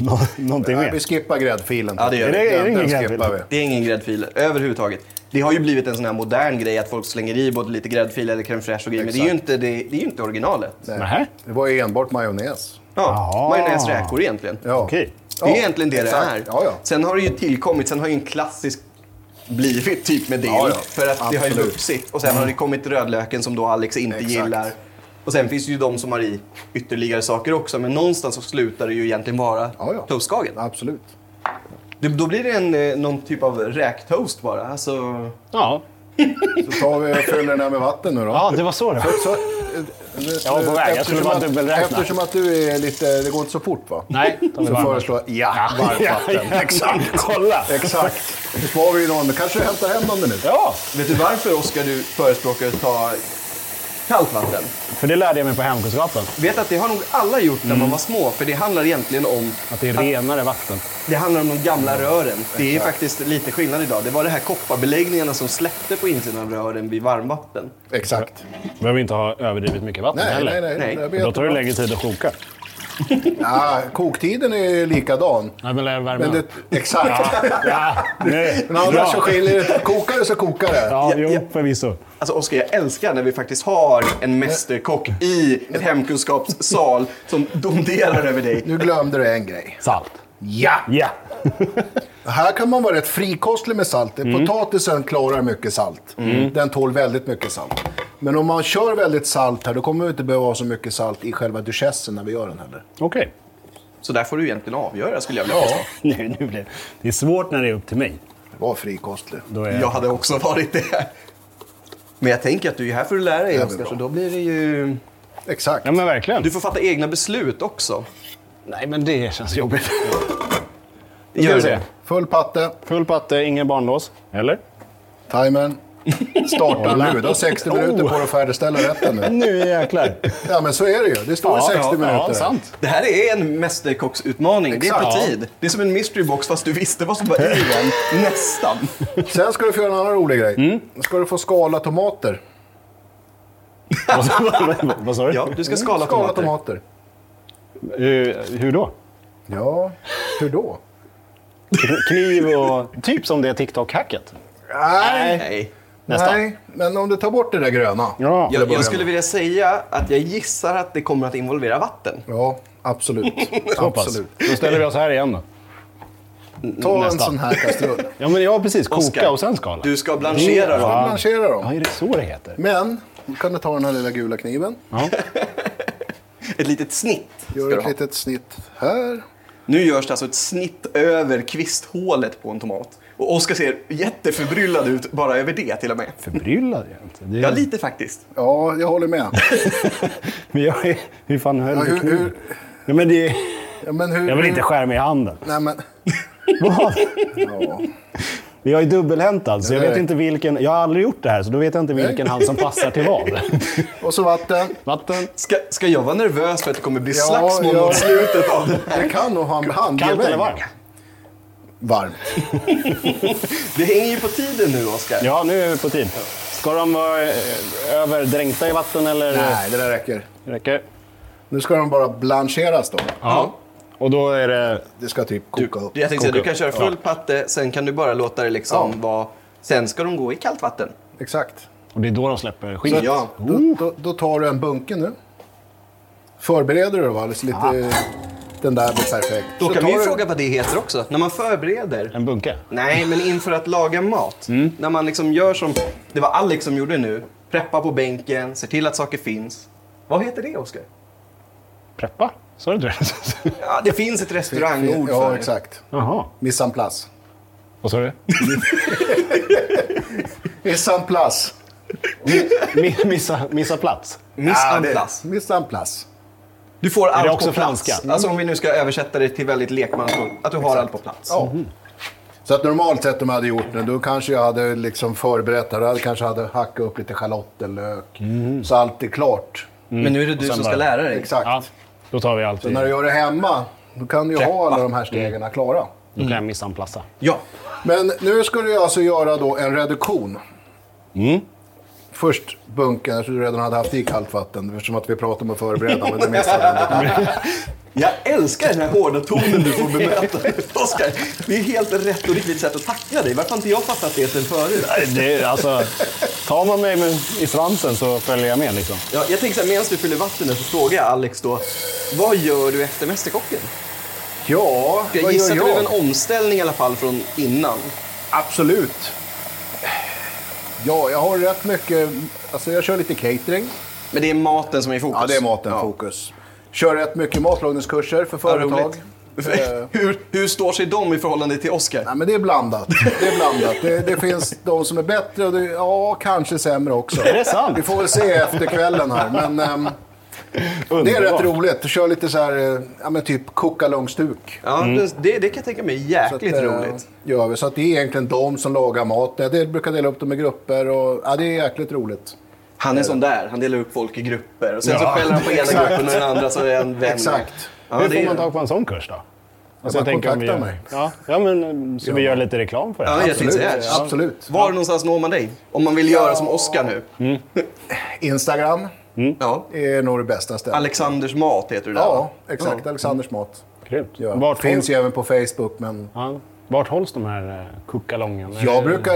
Speaker 1: nå, någonting
Speaker 3: Nej, vi
Speaker 1: mer.
Speaker 3: skippar gräddfilen.
Speaker 2: Ja, det gör
Speaker 1: Är
Speaker 2: vi.
Speaker 1: det, är det
Speaker 3: Den-
Speaker 1: ingen
Speaker 3: den
Speaker 1: gräddfil?
Speaker 3: skippar vi.
Speaker 2: Det är ingen gräddfil överhuvudtaget. Det har ju blivit en sån här modern grej att folk slänger i både lite gräddfil eller crème fraîche och grejer. Men det är ju inte, det, det är ju inte originalet.
Speaker 1: Nähä?
Speaker 3: Det var ju enbart majonnäs.
Speaker 1: Jaha.
Speaker 2: Ja, majonnäs räkor egentligen.
Speaker 3: Ja.
Speaker 1: Okej.
Speaker 2: Det är
Speaker 3: Ja,
Speaker 2: egentligen det
Speaker 3: exakt.
Speaker 2: det är.
Speaker 3: Ja, ja.
Speaker 2: Sen har det ju tillkommit, sen har ju en klassisk blivit typ med dill.
Speaker 3: Ja, ja.
Speaker 2: För att det har ju
Speaker 3: Absolut.
Speaker 2: vuxit. Och sen har det kommit rödlöken som då Alex inte
Speaker 3: Exakt.
Speaker 2: gillar. Och sen finns det ju de som har i ytterligare saker också. Men någonstans så slutar det ju egentligen vara
Speaker 3: Ja, ja.
Speaker 2: toastskagen.
Speaker 3: Absolut.
Speaker 2: Det- Då blir det en, eh, någon typ av räktoast bara. Alltså,
Speaker 1: Ja.
Speaker 3: Så tar vi och fyller den här med vatten nu då.
Speaker 1: ja, det var så det var.
Speaker 3: Så, eh,
Speaker 1: Jag var på väg. Jag skulle
Speaker 3: eftersom
Speaker 1: bara
Speaker 3: att-
Speaker 1: dubbelräkna.
Speaker 3: Eftersom att du är lite... Det går inte så fort va?
Speaker 1: Nej, ta
Speaker 3: Så
Speaker 1: det varmt.
Speaker 3: föreslår jag ja, varmt
Speaker 1: [LAUGHS]
Speaker 3: vatten.
Speaker 1: exakt. Kolla!
Speaker 3: Exakt. Då sparar vi ju någon. Kanske du hämtar hem någon minut.
Speaker 1: Ja,
Speaker 2: vet du varför Oskar du förespråkar att ta kallt vatten?
Speaker 1: för det lärde jag mig på hemkunskapen.
Speaker 2: Vet att det har nog alla gjort när man var små. För det handlar egentligen om
Speaker 1: Att det är renare vatten.
Speaker 2: Det handlar om de gamla rören. Det är faktiskt lite skillnad idag. Det var de här kopparbeläggningarna som släppte på insidan av rören vid varmvatten.
Speaker 3: Exakt.
Speaker 1: behöver inte ha överdrivet mycket vatten
Speaker 3: Nej,
Speaker 1: heller.
Speaker 3: nej, nej.
Speaker 2: Nej.
Speaker 3: det där
Speaker 1: För
Speaker 3: blir
Speaker 1: Då tar det
Speaker 3: jättebra.
Speaker 1: längre tid att koka.
Speaker 3: Ja, koktiden är ju likadan.
Speaker 1: Nej, men lär värma
Speaker 3: Men
Speaker 1: upp.
Speaker 3: det, exakt.
Speaker 1: Ja, nej.
Speaker 3: Men annars så
Speaker 1: ja.
Speaker 3: skiljer det. Kokar det så kokar det.
Speaker 1: ja,
Speaker 2: Ja, ja.
Speaker 1: jo, förvisso.
Speaker 2: Alltså Oskar, jag älskar när vi faktiskt har en mästerkock i ett hemkunskapssal som domderar över dig.
Speaker 3: Nu glömde du en grej.
Speaker 1: Salt.
Speaker 3: Ja!
Speaker 1: Ja!
Speaker 3: Här kan man vara rätt frikostlig med saltet.
Speaker 1: Mm.
Speaker 3: Potatisen klarar mycket salt. Den tål väldigt mycket salt. Men om man kör väldigt salt här, då kommer vi inte behöva ha så mycket salt i själva duchessen när vi gör den heller.
Speaker 1: [LAUGHS] Okej.
Speaker 2: Så där får du egentligen avgöra skulle jag vilja
Speaker 3: Ja,
Speaker 2: påstå.
Speaker 1: Nu, nu blir det. det är svårt när det är upp till mig.
Speaker 3: var frikostlig.
Speaker 1: Då är
Speaker 2: Jag hade också varit det. Men jag tänker att du är här för att lära
Speaker 3: Det
Speaker 2: dig
Speaker 3: är väl
Speaker 2: Oskar,
Speaker 3: bra.
Speaker 2: så då blir det ju...
Speaker 3: Exakt.
Speaker 1: Ja, men verkligen.
Speaker 2: Du får fatta egna beslut också.
Speaker 1: Nej, men det känns jobbigt.
Speaker 2: Gör
Speaker 1: vi
Speaker 2: det.
Speaker 3: Full patte,
Speaker 1: [LAUGHS] Full patte, ingen barnlås. Eller?
Speaker 3: timern. Starta nu. Du har 60
Speaker 1: Oh.
Speaker 3: minuter på dig att färdigställa rätten nu.
Speaker 1: Nu [LAUGHS] jäklar.
Speaker 3: Ja, men så är det ju. Det står
Speaker 1: Ja,
Speaker 3: 60
Speaker 1: ja,
Speaker 3: minuter.
Speaker 1: ja, sant.
Speaker 2: Det här är en mästerkocksutmaning. Det är på
Speaker 3: Exakt. Ja.
Speaker 2: tid. Det är som en mystery box fast du visste vad som var i den. Nästan.
Speaker 3: Sen ska du få göra en annan rolig grej.
Speaker 1: Mm.
Speaker 3: Nu ska du få skala tomater.
Speaker 1: Vad sa- Vad sa du?
Speaker 2: Ja, du ska skala tomater.
Speaker 3: tomater.
Speaker 1: Eh, Hur, hur då?
Speaker 3: Ja, hur då?
Speaker 1: Kniv och... Typ som det TikTok-hacket.
Speaker 3: Nej,
Speaker 2: Nej.
Speaker 1: Nästan.
Speaker 3: nej, men om du tar bort det där gröna.
Speaker 1: Ja.
Speaker 3: Till
Speaker 2: Jag,
Speaker 3: att börja
Speaker 2: jag
Speaker 3: med.
Speaker 2: skulle vilja säga att jag gissar att det kommer att involvera vatten.
Speaker 3: Ja, absolut.
Speaker 1: [LAUGHS] Så pass.
Speaker 3: absolut.
Speaker 1: Då ställer vi oss här igen då.
Speaker 3: Ta en
Speaker 1: Nästa.
Speaker 3: sån här kastrull.
Speaker 1: Ja, men ja precis. Koka
Speaker 2: Oskar,
Speaker 1: och sen skala.
Speaker 2: Du ska blanchera dem.
Speaker 1: Ja.
Speaker 3: Blanchera
Speaker 1: Ja,
Speaker 3: dem.
Speaker 1: är det så det heter?
Speaker 3: Men, då kan du ta den här lilla gula kniven.
Speaker 1: Ja.
Speaker 2: Ett litet snitt. Ska
Speaker 3: Gör
Speaker 2: du
Speaker 3: ett
Speaker 2: ha.
Speaker 3: litet snitt här.
Speaker 2: Nu görs det alltså ett snitt över kvisthålet på en tomat. Och Oskar ser jätteförbryllad ut bara över det till och med.
Speaker 1: Förbryllad jag inte. Det är...
Speaker 2: Ja, lite faktiskt.
Speaker 3: Ja, jag håller med.
Speaker 1: Men jag är... Hur fan höll
Speaker 3: Ja,
Speaker 1: du
Speaker 3: hur-
Speaker 1: kniven?
Speaker 3: hur-
Speaker 1: Nej, men det...
Speaker 3: Ja, men hur,
Speaker 1: Jag vill inte skära mig i handen.
Speaker 3: Nej, men...
Speaker 1: [LAUGHS] Vad?
Speaker 3: Ja.
Speaker 1: Jag är dubbelhäntad, så alltså. jag
Speaker 3: Nej.
Speaker 1: vet inte vilken... Jag har aldrig gjort det här, så då vet jag inte vilken hand som passar till
Speaker 3: [LAUGHS]
Speaker 1: vad.
Speaker 3: Och så vatten.
Speaker 1: Vatten.
Speaker 2: Ska, ska jag vara nervös för att det kommer bli
Speaker 3: Ja,
Speaker 2: slagsmål
Speaker 3: ja.
Speaker 2: mot slutet av det här?
Speaker 3: Det kan nog ha en handgemäng.
Speaker 1: Kallt eller varmt?
Speaker 3: Varmt.
Speaker 2: Det hänger ju på tiden nu, Oskar.
Speaker 1: Ja, nu är vi på tid. Ska de vara eh, överdränkta i vatten eller?
Speaker 3: Nej, det där räcker.
Speaker 1: Räcker?
Speaker 3: Nu ska de bara blancheras då.
Speaker 1: Ja. Och då är det...
Speaker 3: Det ska typ
Speaker 2: Du,
Speaker 3: koka upp.
Speaker 2: jag tänkte säga, du
Speaker 1: Koka
Speaker 2: kan
Speaker 1: upp.
Speaker 2: köra full patte, sen kan du bara låta det liksom
Speaker 3: Ja.
Speaker 2: vara... Sen ska de gå i kallt vatten.
Speaker 3: Exakt.
Speaker 1: Och det är då de släpper skinnet.
Speaker 2: Ja.
Speaker 3: Då, då, då tar du en bunke nu. Förbereder du då va? Alldeles lite Den där blir perfekt.
Speaker 2: Då
Speaker 3: Så
Speaker 2: kan
Speaker 3: tar
Speaker 2: vi ju
Speaker 3: du-
Speaker 2: fråga vad det heter också. När man förbereder.
Speaker 1: En bunke?
Speaker 2: Nej, men inför att laga mat. När man liksom gör som, det var Alex som gjorde nu. Preppa på bänken, ser till att saker finns. Vad heter det, Oskar?
Speaker 1: Preppa? Sa du inte det? [LAUGHS]
Speaker 2: Ja, det finns ett restaurangord för
Speaker 3: Ja,
Speaker 2: det.
Speaker 3: exakt.
Speaker 1: Jaha.
Speaker 3: Missan plats.
Speaker 1: Vad sa du?
Speaker 3: Missan plats.
Speaker 1: Mi- Missa, missa plats?
Speaker 2: Miss en place.
Speaker 3: Missan plats.
Speaker 2: Du får allt
Speaker 1: det också
Speaker 2: på plats.
Speaker 1: franska? Mm.
Speaker 2: Alltså om vi nu ska översätta det till väldigt lekmansfullt. Att du har allt på plats.
Speaker 3: Ja. Så att normalt sett om jag hade gjort det, då kanske jag hade liksom förberett det. Då hade- kanske hade hackat upp lite schalott eller lök. Så allt är klart.
Speaker 2: Mm. Men nu är det du
Speaker 1: sen
Speaker 2: som
Speaker 1: bara-
Speaker 2: ska lära dig.
Speaker 3: Exakt.
Speaker 1: Ja, då tar vi allt.
Speaker 3: Så
Speaker 1: i-
Speaker 3: när du gör det hemma, då kan du ju ha
Speaker 1: Preppa.
Speaker 3: alla de här stegen klara.
Speaker 1: Då kan jag missa en plassa.
Speaker 3: [LAUGHS]
Speaker 2: Ja.
Speaker 3: Men nu ska du alltså göra då en reduktion. Mm. Först bunken, jag tror du redan hade haft i kallt vatten eftersom att vi pratade om att förbereda, men det missade du.
Speaker 2: Jag älskar den här hårda tonen du får bemöta. Oskar, det är helt rätt och riktigt sätt att tackla dig. Varför har inte jag fattat det sen förut?
Speaker 1: Det, är- alltså, tar man mig med, i svansen så följer jag med liksom.
Speaker 2: Ja, jag tänker så här, medan du fyller vattnet så frågar jag Alex då, vad gör du efter Mästerkocken?
Speaker 3: [LAUGHS] Ja,
Speaker 2: Jag
Speaker 3: vad
Speaker 2: gissar
Speaker 3: gör
Speaker 2: att det blev
Speaker 3: jag?
Speaker 2: en omställning i alla fall från innan.
Speaker 3: Absolut. Ja, jag har rätt mycket, alltså jag kör lite catering.
Speaker 2: Men det är maten som är i fokus.
Speaker 3: Ja, det är maten fokus. Kör rätt mycket matlagningskurser för
Speaker 2: Ja,
Speaker 3: företag.
Speaker 2: roligt.
Speaker 3: Eh,
Speaker 2: hur, hur står sig de i förhållande till Oskar?
Speaker 3: Nej, men det är blandat. Det, är blandat. Det, det finns de som är bättre och det, ja, kanske sämre också. Är
Speaker 1: det sant?
Speaker 3: Vi får väl se efter kvällen här. Men, ehm, det är rätt roligt. Du kör lite så här, eh, ja, men typ koka långstuk. eh,
Speaker 2: Ja, det, det, det kan jag tänka mig är jäkligt roligt.
Speaker 3: Gör vi. Så att det är egentligen de som lagar maten. Jag brukar dela upp dem i grupper och ja, det är jäkligt roligt.
Speaker 2: Han är sån där, han delar upp folk i grupper och sen så
Speaker 1: Ja,
Speaker 2: skäller han på ena
Speaker 3: exakt.
Speaker 2: gruppen och den andra så är han vän.
Speaker 3: Exakt.
Speaker 2: Ja,
Speaker 1: Hur
Speaker 2: det
Speaker 1: får
Speaker 2: är-
Speaker 1: man tag på en sån kurs då? Alltså,
Speaker 3: bara
Speaker 1: tänker om vi
Speaker 3: kontakta
Speaker 1: gör-
Speaker 3: mig.
Speaker 1: Ja, ja, men, så vi gör lite reklam för det. Alltså,
Speaker 2: Ja, jag tänkte säga
Speaker 3: Absolut.
Speaker 2: det.
Speaker 3: Absolut.
Speaker 2: Var någonstans når man dig? Om man vill göra som Oskar nu.
Speaker 3: Instagram
Speaker 2: Ja.
Speaker 3: är nog det bästa stället.
Speaker 2: Alexanders mat heter du där va?
Speaker 3: Ja, exakt. Alexanders mat.
Speaker 1: Grymt.
Speaker 3: Ja.
Speaker 1: Vart,
Speaker 3: Finns
Speaker 1: hålls,
Speaker 3: ju även på Facebook, men
Speaker 1: ja, vart hålls de här eh, kuckalongen? Är det-
Speaker 3: jag brukar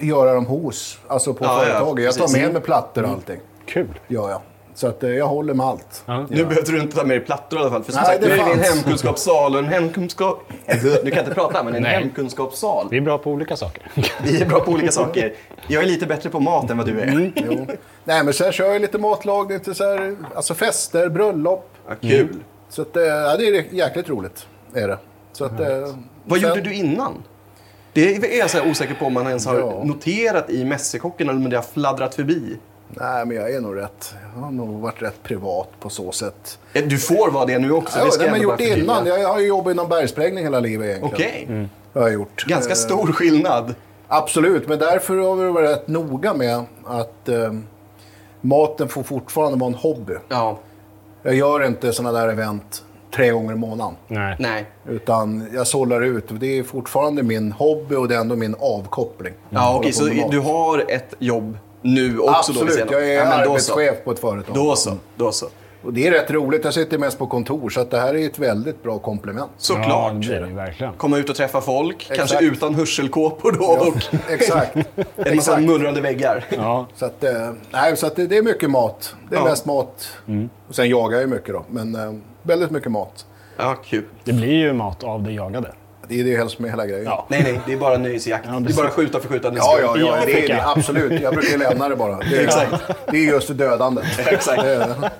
Speaker 3: göra dem hos, alltså på
Speaker 2: Ja, ja,
Speaker 3: företaget. jag tar
Speaker 2: precis. Mm.
Speaker 3: med mig plattor och allting.
Speaker 1: Eh, Kul.
Speaker 3: Ja, ja. Så att, eh, jag håller med allt.
Speaker 1: Ja.
Speaker 2: Nu behövde du inte ta med dig plattor i alla fall. För som
Speaker 3: Nej,
Speaker 2: sagt,
Speaker 3: det
Speaker 2: nu är det en
Speaker 3: fanns.
Speaker 2: hemkunskapssal och en hemkunskap... Nu kan jag inte prata, men en
Speaker 1: Nej.
Speaker 2: hemkunskapssal.
Speaker 1: Vi är bra på olika saker. [LAUGHS]
Speaker 2: Vi är bra på olika saker. Jag är lite bättre på mat än vad du är.
Speaker 3: Jo. Nej, men sen kör jag lite matlagning till så här, alltså fester, bröllop.
Speaker 2: Ja, kul.
Speaker 3: Så att, eh, ja, det är jäkligt roligt. Är det. Så att, eh,
Speaker 2: Vad
Speaker 3: sen-
Speaker 2: gjorde du innan? Det är jag så här osäker på om man ens har
Speaker 3: Ja.
Speaker 2: noterat i Mästerkocken eller om det har fladdrat förbi.
Speaker 3: Nej, men jag är nog rätt. Jag har nog varit rätt privat på så sätt.
Speaker 2: Eh, Du får vara det nu också.
Speaker 3: Ja,
Speaker 2: det ska
Speaker 3: det har jag
Speaker 2: ändå
Speaker 3: gjort
Speaker 2: bara förtydliga.
Speaker 3: innan. Jag har ju jobbat inom bergsprängning hela livet egentligen.
Speaker 2: Okej. Mm.
Speaker 3: Har jag gjort.
Speaker 2: Ganska
Speaker 3: Eh,
Speaker 2: stor skillnad.
Speaker 3: Absolut, men därför har vi varit rätt noga med att eh, maten får fortfarande vara en hobby.
Speaker 2: Ja.
Speaker 3: Jag gör inte sådana där event tre gånger i månaden.
Speaker 1: Nej.
Speaker 2: Nej.
Speaker 3: Utan jag sållar ut. och Det är fortfarande min hobby och det är ändå min avkoppling.
Speaker 2: Ja, okej.
Speaker 3: Mm. Hålla på med
Speaker 2: så
Speaker 3: mat.
Speaker 2: du har ett jobb nu också? Då, vid
Speaker 3: Absolut,
Speaker 2: sidan av?
Speaker 3: jag är
Speaker 2: Ja, men då så.
Speaker 3: arbetschef på ett företag.
Speaker 2: Då så. Då så.
Speaker 3: Och det är rätt roligt. Jag sitter mest på kontor, så att det här är ett väldigt
Speaker 2: [LAUGHS]
Speaker 3: bra komplement.
Speaker 1: Ja,
Speaker 2: Såklart.
Speaker 1: det är det verkligen.
Speaker 2: Komma ut och träffa folk, kanske
Speaker 3: Exakt.
Speaker 2: utan hörselkåpor då
Speaker 3: [LAUGHS]
Speaker 2: och
Speaker 3: Exakt.
Speaker 2: en massa
Speaker 3: Exakt.
Speaker 2: mullrande väggar.
Speaker 1: Ja.
Speaker 3: Så, att, eh, nej, så att det, det är mycket mat. Det är
Speaker 2: Ja. Mm.
Speaker 3: mest mat. Och sen jagar jag ju mycket då, men eh, väldigt mycket mat.
Speaker 2: Ja, kul.
Speaker 1: Det blir ju mat av det jagade. [LAUGHS]
Speaker 3: Det är det helst med hela grejen.
Speaker 1: Ja.
Speaker 2: Nej, nej, det är bara nöjesjakt. det är
Speaker 1: precis.
Speaker 2: bara skjuta för skjutandets
Speaker 3: Ja,
Speaker 2: skull.
Speaker 3: ja,
Speaker 1: I
Speaker 3: ja det är
Speaker 1: Afrika.
Speaker 3: det. Absolut. Jag brukar lämna det bara. Det är,
Speaker 2: Exakt.
Speaker 3: det är just för dödandet.
Speaker 2: Exakt.
Speaker 3: Det är-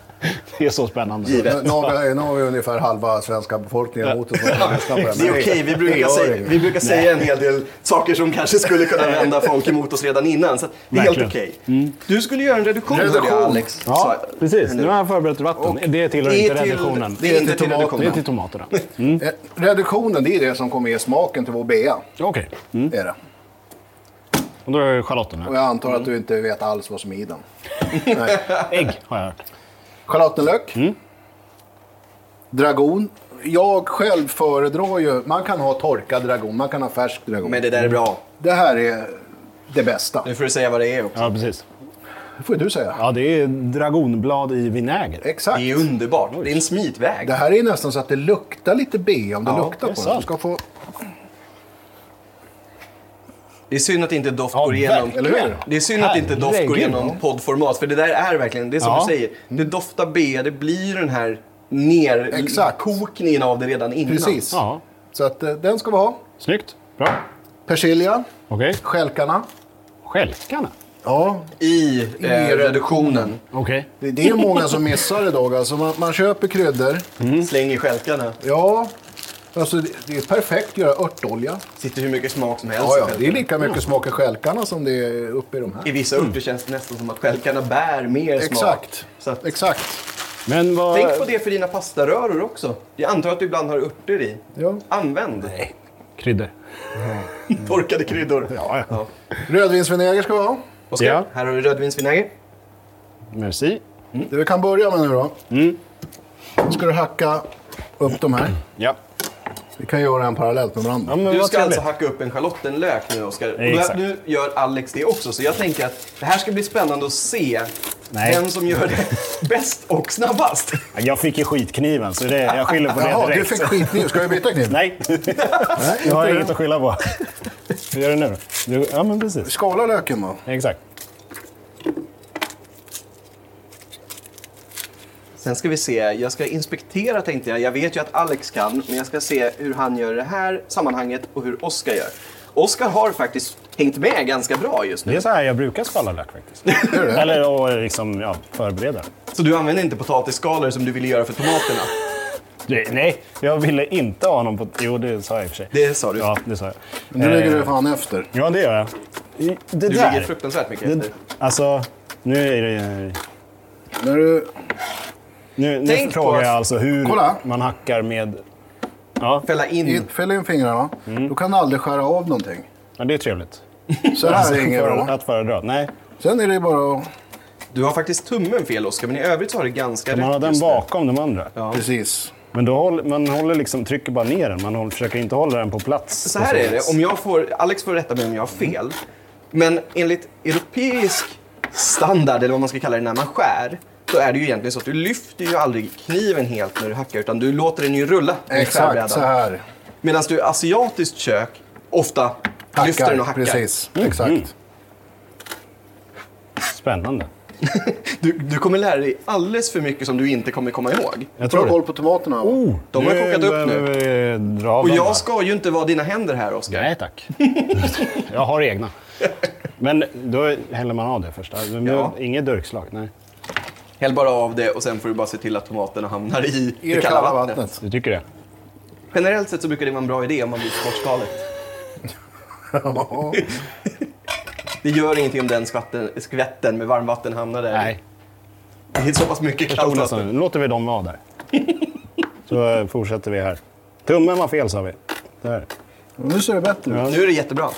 Speaker 1: Det är så spännande.
Speaker 2: Givet.
Speaker 3: Nu har, vi, nu har vi ungefär halva svenska befolkningen emot oss. som lyssnar på här,
Speaker 2: Det är
Speaker 3: men
Speaker 2: okej, vi
Speaker 3: det
Speaker 2: brukar,
Speaker 3: gör
Speaker 2: säga,
Speaker 3: inget.
Speaker 2: vi brukar säga en hel del saker som kanske skulle kunna vända folk emot oss redan innan. Så att det är helt
Speaker 1: Verkligen. Mm.
Speaker 2: okej. Du skulle göra en reduktion, hörde jag,
Speaker 3: Reduktion.
Speaker 2: Alex.
Speaker 1: Ja,
Speaker 2: sa-
Speaker 1: precis. Nu har jag förberett vatten. det tillhör
Speaker 2: det är
Speaker 1: inte
Speaker 2: till-
Speaker 1: reduktionen.
Speaker 2: Det är inte till
Speaker 1: Det är
Speaker 2: reduktionen.
Speaker 1: till tomaterna.
Speaker 2: Mm.
Speaker 3: Eh, Reduktionen, det är det som kommer ge smaken till vår bea.
Speaker 1: Okej.
Speaker 2: Mm.
Speaker 3: Är det.
Speaker 1: Och då är det schalotten här.
Speaker 3: Och jag antar att du inte vet alls vad som är i den. Nej.
Speaker 1: Ägg har jag hört.
Speaker 3: Schalottenlök.
Speaker 2: Mm.
Speaker 3: Dragon. Jag själv föredrar ju... Man kan ha torkad dragon, man kan ha färsk dragon.
Speaker 2: Men det där är bra.
Speaker 3: Det här är det bästa.
Speaker 2: Nu får du säga vad det är också.
Speaker 1: Ja, precis.
Speaker 3: Det får ju du säga.
Speaker 1: Ja, det är dragonblad i vinäger.
Speaker 3: Exakt.
Speaker 2: Det är underbart. Det är en smitväg.
Speaker 3: Det här är nästan så att det luktar lite B om du
Speaker 2: Ja,
Speaker 3: luktar
Speaker 1: det
Speaker 3: på
Speaker 1: är
Speaker 3: den. Du
Speaker 1: sant.
Speaker 3: ska få...
Speaker 2: Det är synd att inte doft
Speaker 1: Ja,
Speaker 2: går igenom.
Speaker 1: verkligen.
Speaker 3: Eller hur?
Speaker 2: Det är synd att inte doft går
Speaker 1: Herregud.
Speaker 2: igenom poddformat, för det där är verkligen, det är som
Speaker 1: Ja.
Speaker 2: du säger, det doftar B, det blir den här ner
Speaker 3: Exakt.
Speaker 2: kokningen av det redan innan.
Speaker 3: Precis.
Speaker 1: Ja.
Speaker 3: Så att, eh, den ska vi ha.
Speaker 1: Snyggt. Bra.
Speaker 3: Persilja,
Speaker 1: Okej.
Speaker 3: stjälkarna.
Speaker 1: Stjälkarna.
Speaker 3: Ja,
Speaker 2: I, eh, reduktionen.
Speaker 1: Okej.
Speaker 3: det, det är många som missar idag. Alltså man, man köper kryddor.
Speaker 2: Mm. Släng i stjälkarna.
Speaker 3: Ja, alltså det, det är perfekt att göra örtolja.
Speaker 2: Sitter hur mycket smak som helst
Speaker 3: Ja,
Speaker 2: i
Speaker 3: ja, det är
Speaker 2: stjälkarna.
Speaker 3: lika mycket smak i stjälkarna som det är uppe i de
Speaker 2: I
Speaker 3: här.
Speaker 2: vissa örter känns det nästan som att stjälkarna bär mer smak.
Speaker 3: Exakt.
Speaker 2: Så att,
Speaker 3: Exakt.
Speaker 1: Men vad...
Speaker 2: tänk på det för dina pastaröror också. Jag antar att du ibland har örter i.
Speaker 3: Ja.
Speaker 2: Använd
Speaker 1: Kryddor.
Speaker 2: torkade kryddor.
Speaker 1: Ja, ja.
Speaker 3: Rödvinsvinäger ska vi ha.
Speaker 2: Oskar,
Speaker 1: Ja.
Speaker 2: här har du rödvinsvinäger.
Speaker 1: Merci.
Speaker 3: Det vi kan börja med nu då. Då ska du hacka upp de här.
Speaker 1: Ja.
Speaker 3: Vi kan göra en parallellt med
Speaker 1: ja
Speaker 3: varandra.
Speaker 1: men
Speaker 2: Du
Speaker 1: vad
Speaker 2: ska
Speaker 1: trevligt.
Speaker 2: alltså hacka upp en schalottenlök nu, Oskar.
Speaker 1: Exakt.
Speaker 2: Och nu gör Alex det också, så jag tänker att det här ska bli spännande att se
Speaker 1: Nej.
Speaker 2: vem som gör det
Speaker 1: [LAUGHS]
Speaker 2: bäst och snabbast.
Speaker 1: Jag fick ju skitkniven, så det, jag skyller på det
Speaker 3: Jaha, du
Speaker 1: direkt.
Speaker 3: fick skitkniv. Ska vi byta kniv?
Speaker 1: Nej, jag har inget att skylla på. Hur gör du nu? Du, ja, men precis.
Speaker 3: Skala löken då.
Speaker 1: Exakt.
Speaker 2: Sen ska vi se, jag ska inspektera tänkte jag. Jag vet ju att Alex kan, men jag ska se hur han gör i det här sammanhanget och hur Oskar gör. Oskar har faktiskt hängt med ganska bra just
Speaker 1: Det
Speaker 2: nu.
Speaker 1: är så här jag brukar skala lök faktiskt. Eller och liksom, ja, förbereda.
Speaker 2: Så du använder inte potatisskalor som du ville göra för tomaterna?
Speaker 1: Det, nej, jag ville inte ha någon på... Jo, det sa jag i och för sig.
Speaker 2: Det sa du.
Speaker 1: Ja, det sa jag.
Speaker 3: Nu
Speaker 1: Eh,
Speaker 3: ligger du fan efter.
Speaker 1: Ja, det gör jag. I- Det där.
Speaker 2: Du ligger fruktansvärt mycket
Speaker 1: det,
Speaker 2: efter.
Speaker 1: alltså, nu är det...
Speaker 3: När du...
Speaker 1: Nu, nu
Speaker 2: Tänk
Speaker 1: frågar
Speaker 2: på-
Speaker 1: jag alltså hur
Speaker 3: Kolla.
Speaker 1: man hackar med... Ja,
Speaker 2: Fälla
Speaker 3: i-
Speaker 2: in.
Speaker 3: Fäll in fingrarna.
Speaker 1: Mm.
Speaker 3: Då kan du aldrig skära av någonting.
Speaker 1: ja det är trevligt. [LAUGHS]
Speaker 3: Så här är inget
Speaker 1: För-
Speaker 3: bra.
Speaker 1: Att föredra. Nej,
Speaker 3: Sen är det bara att...
Speaker 2: Du har faktiskt tummen fel Oskar, men i övrigt så har du ganska rätt
Speaker 1: man har den
Speaker 2: just nu.
Speaker 1: bakom de andra.
Speaker 3: Precis.
Speaker 1: Men då håller, man håller liksom, trycker bara ner den. Man håller, försöker inte hålla den på plats.
Speaker 2: Så här
Speaker 1: på
Speaker 2: är det,
Speaker 1: vis.
Speaker 2: om jag får, Alex får rätta mig om jag har fel. Men enligt europeisk standard, eller vad man ska kalla det när man skär, så är det ju egentligen så att du lyfter ju aldrig kniven helt när du hackar, utan du låter den ju rulla i
Speaker 3: Exakt så
Speaker 2: skärbrädan.
Speaker 3: här.
Speaker 2: Medan du i asiatiskt kök ofta lyfter den och
Speaker 3: Hackar.
Speaker 2: hackar.
Speaker 3: Precis.
Speaker 1: Mm.
Speaker 3: Exakt.
Speaker 1: Spännande.
Speaker 2: Du, du kommer lära dig alldeles för mycket som du inte kommer komma ihåg.
Speaker 1: Jag
Speaker 3: Ta
Speaker 1: tror
Speaker 3: koll
Speaker 1: det. Oh,
Speaker 3: på tomaterna. va?
Speaker 2: De har kokat upp nu.
Speaker 1: nu. Dra av
Speaker 2: Och
Speaker 1: dem
Speaker 2: jag
Speaker 1: bara.
Speaker 2: ska ju inte vara dina händer här, Oskar.
Speaker 1: Nej tack. [LAUGHS] jag har egna. Men då häller man av det först. Men
Speaker 2: Ja.
Speaker 1: Inget durkslag. Nej.
Speaker 2: Häll bara av det och sen får du bara se till att tomaterna hamnar i,
Speaker 3: I det kalla vattnet.
Speaker 1: Du tycker det?
Speaker 2: Generellt sett så brukar det vara en bra idé om man blir sportskalet. Det gör ingenting om den skvatten, skvätten med varmvatten hamnar där.
Speaker 1: Nej.
Speaker 2: Det är så pass mycket kallt
Speaker 1: Jonas,
Speaker 2: vatten.
Speaker 1: nu låter vi dem vara där. [LAUGHS] Så eh, fortsätter vi här. Tummen var fel sa vi. Där.
Speaker 3: Nu ser det bättre ut.
Speaker 2: Nu är det jättebra.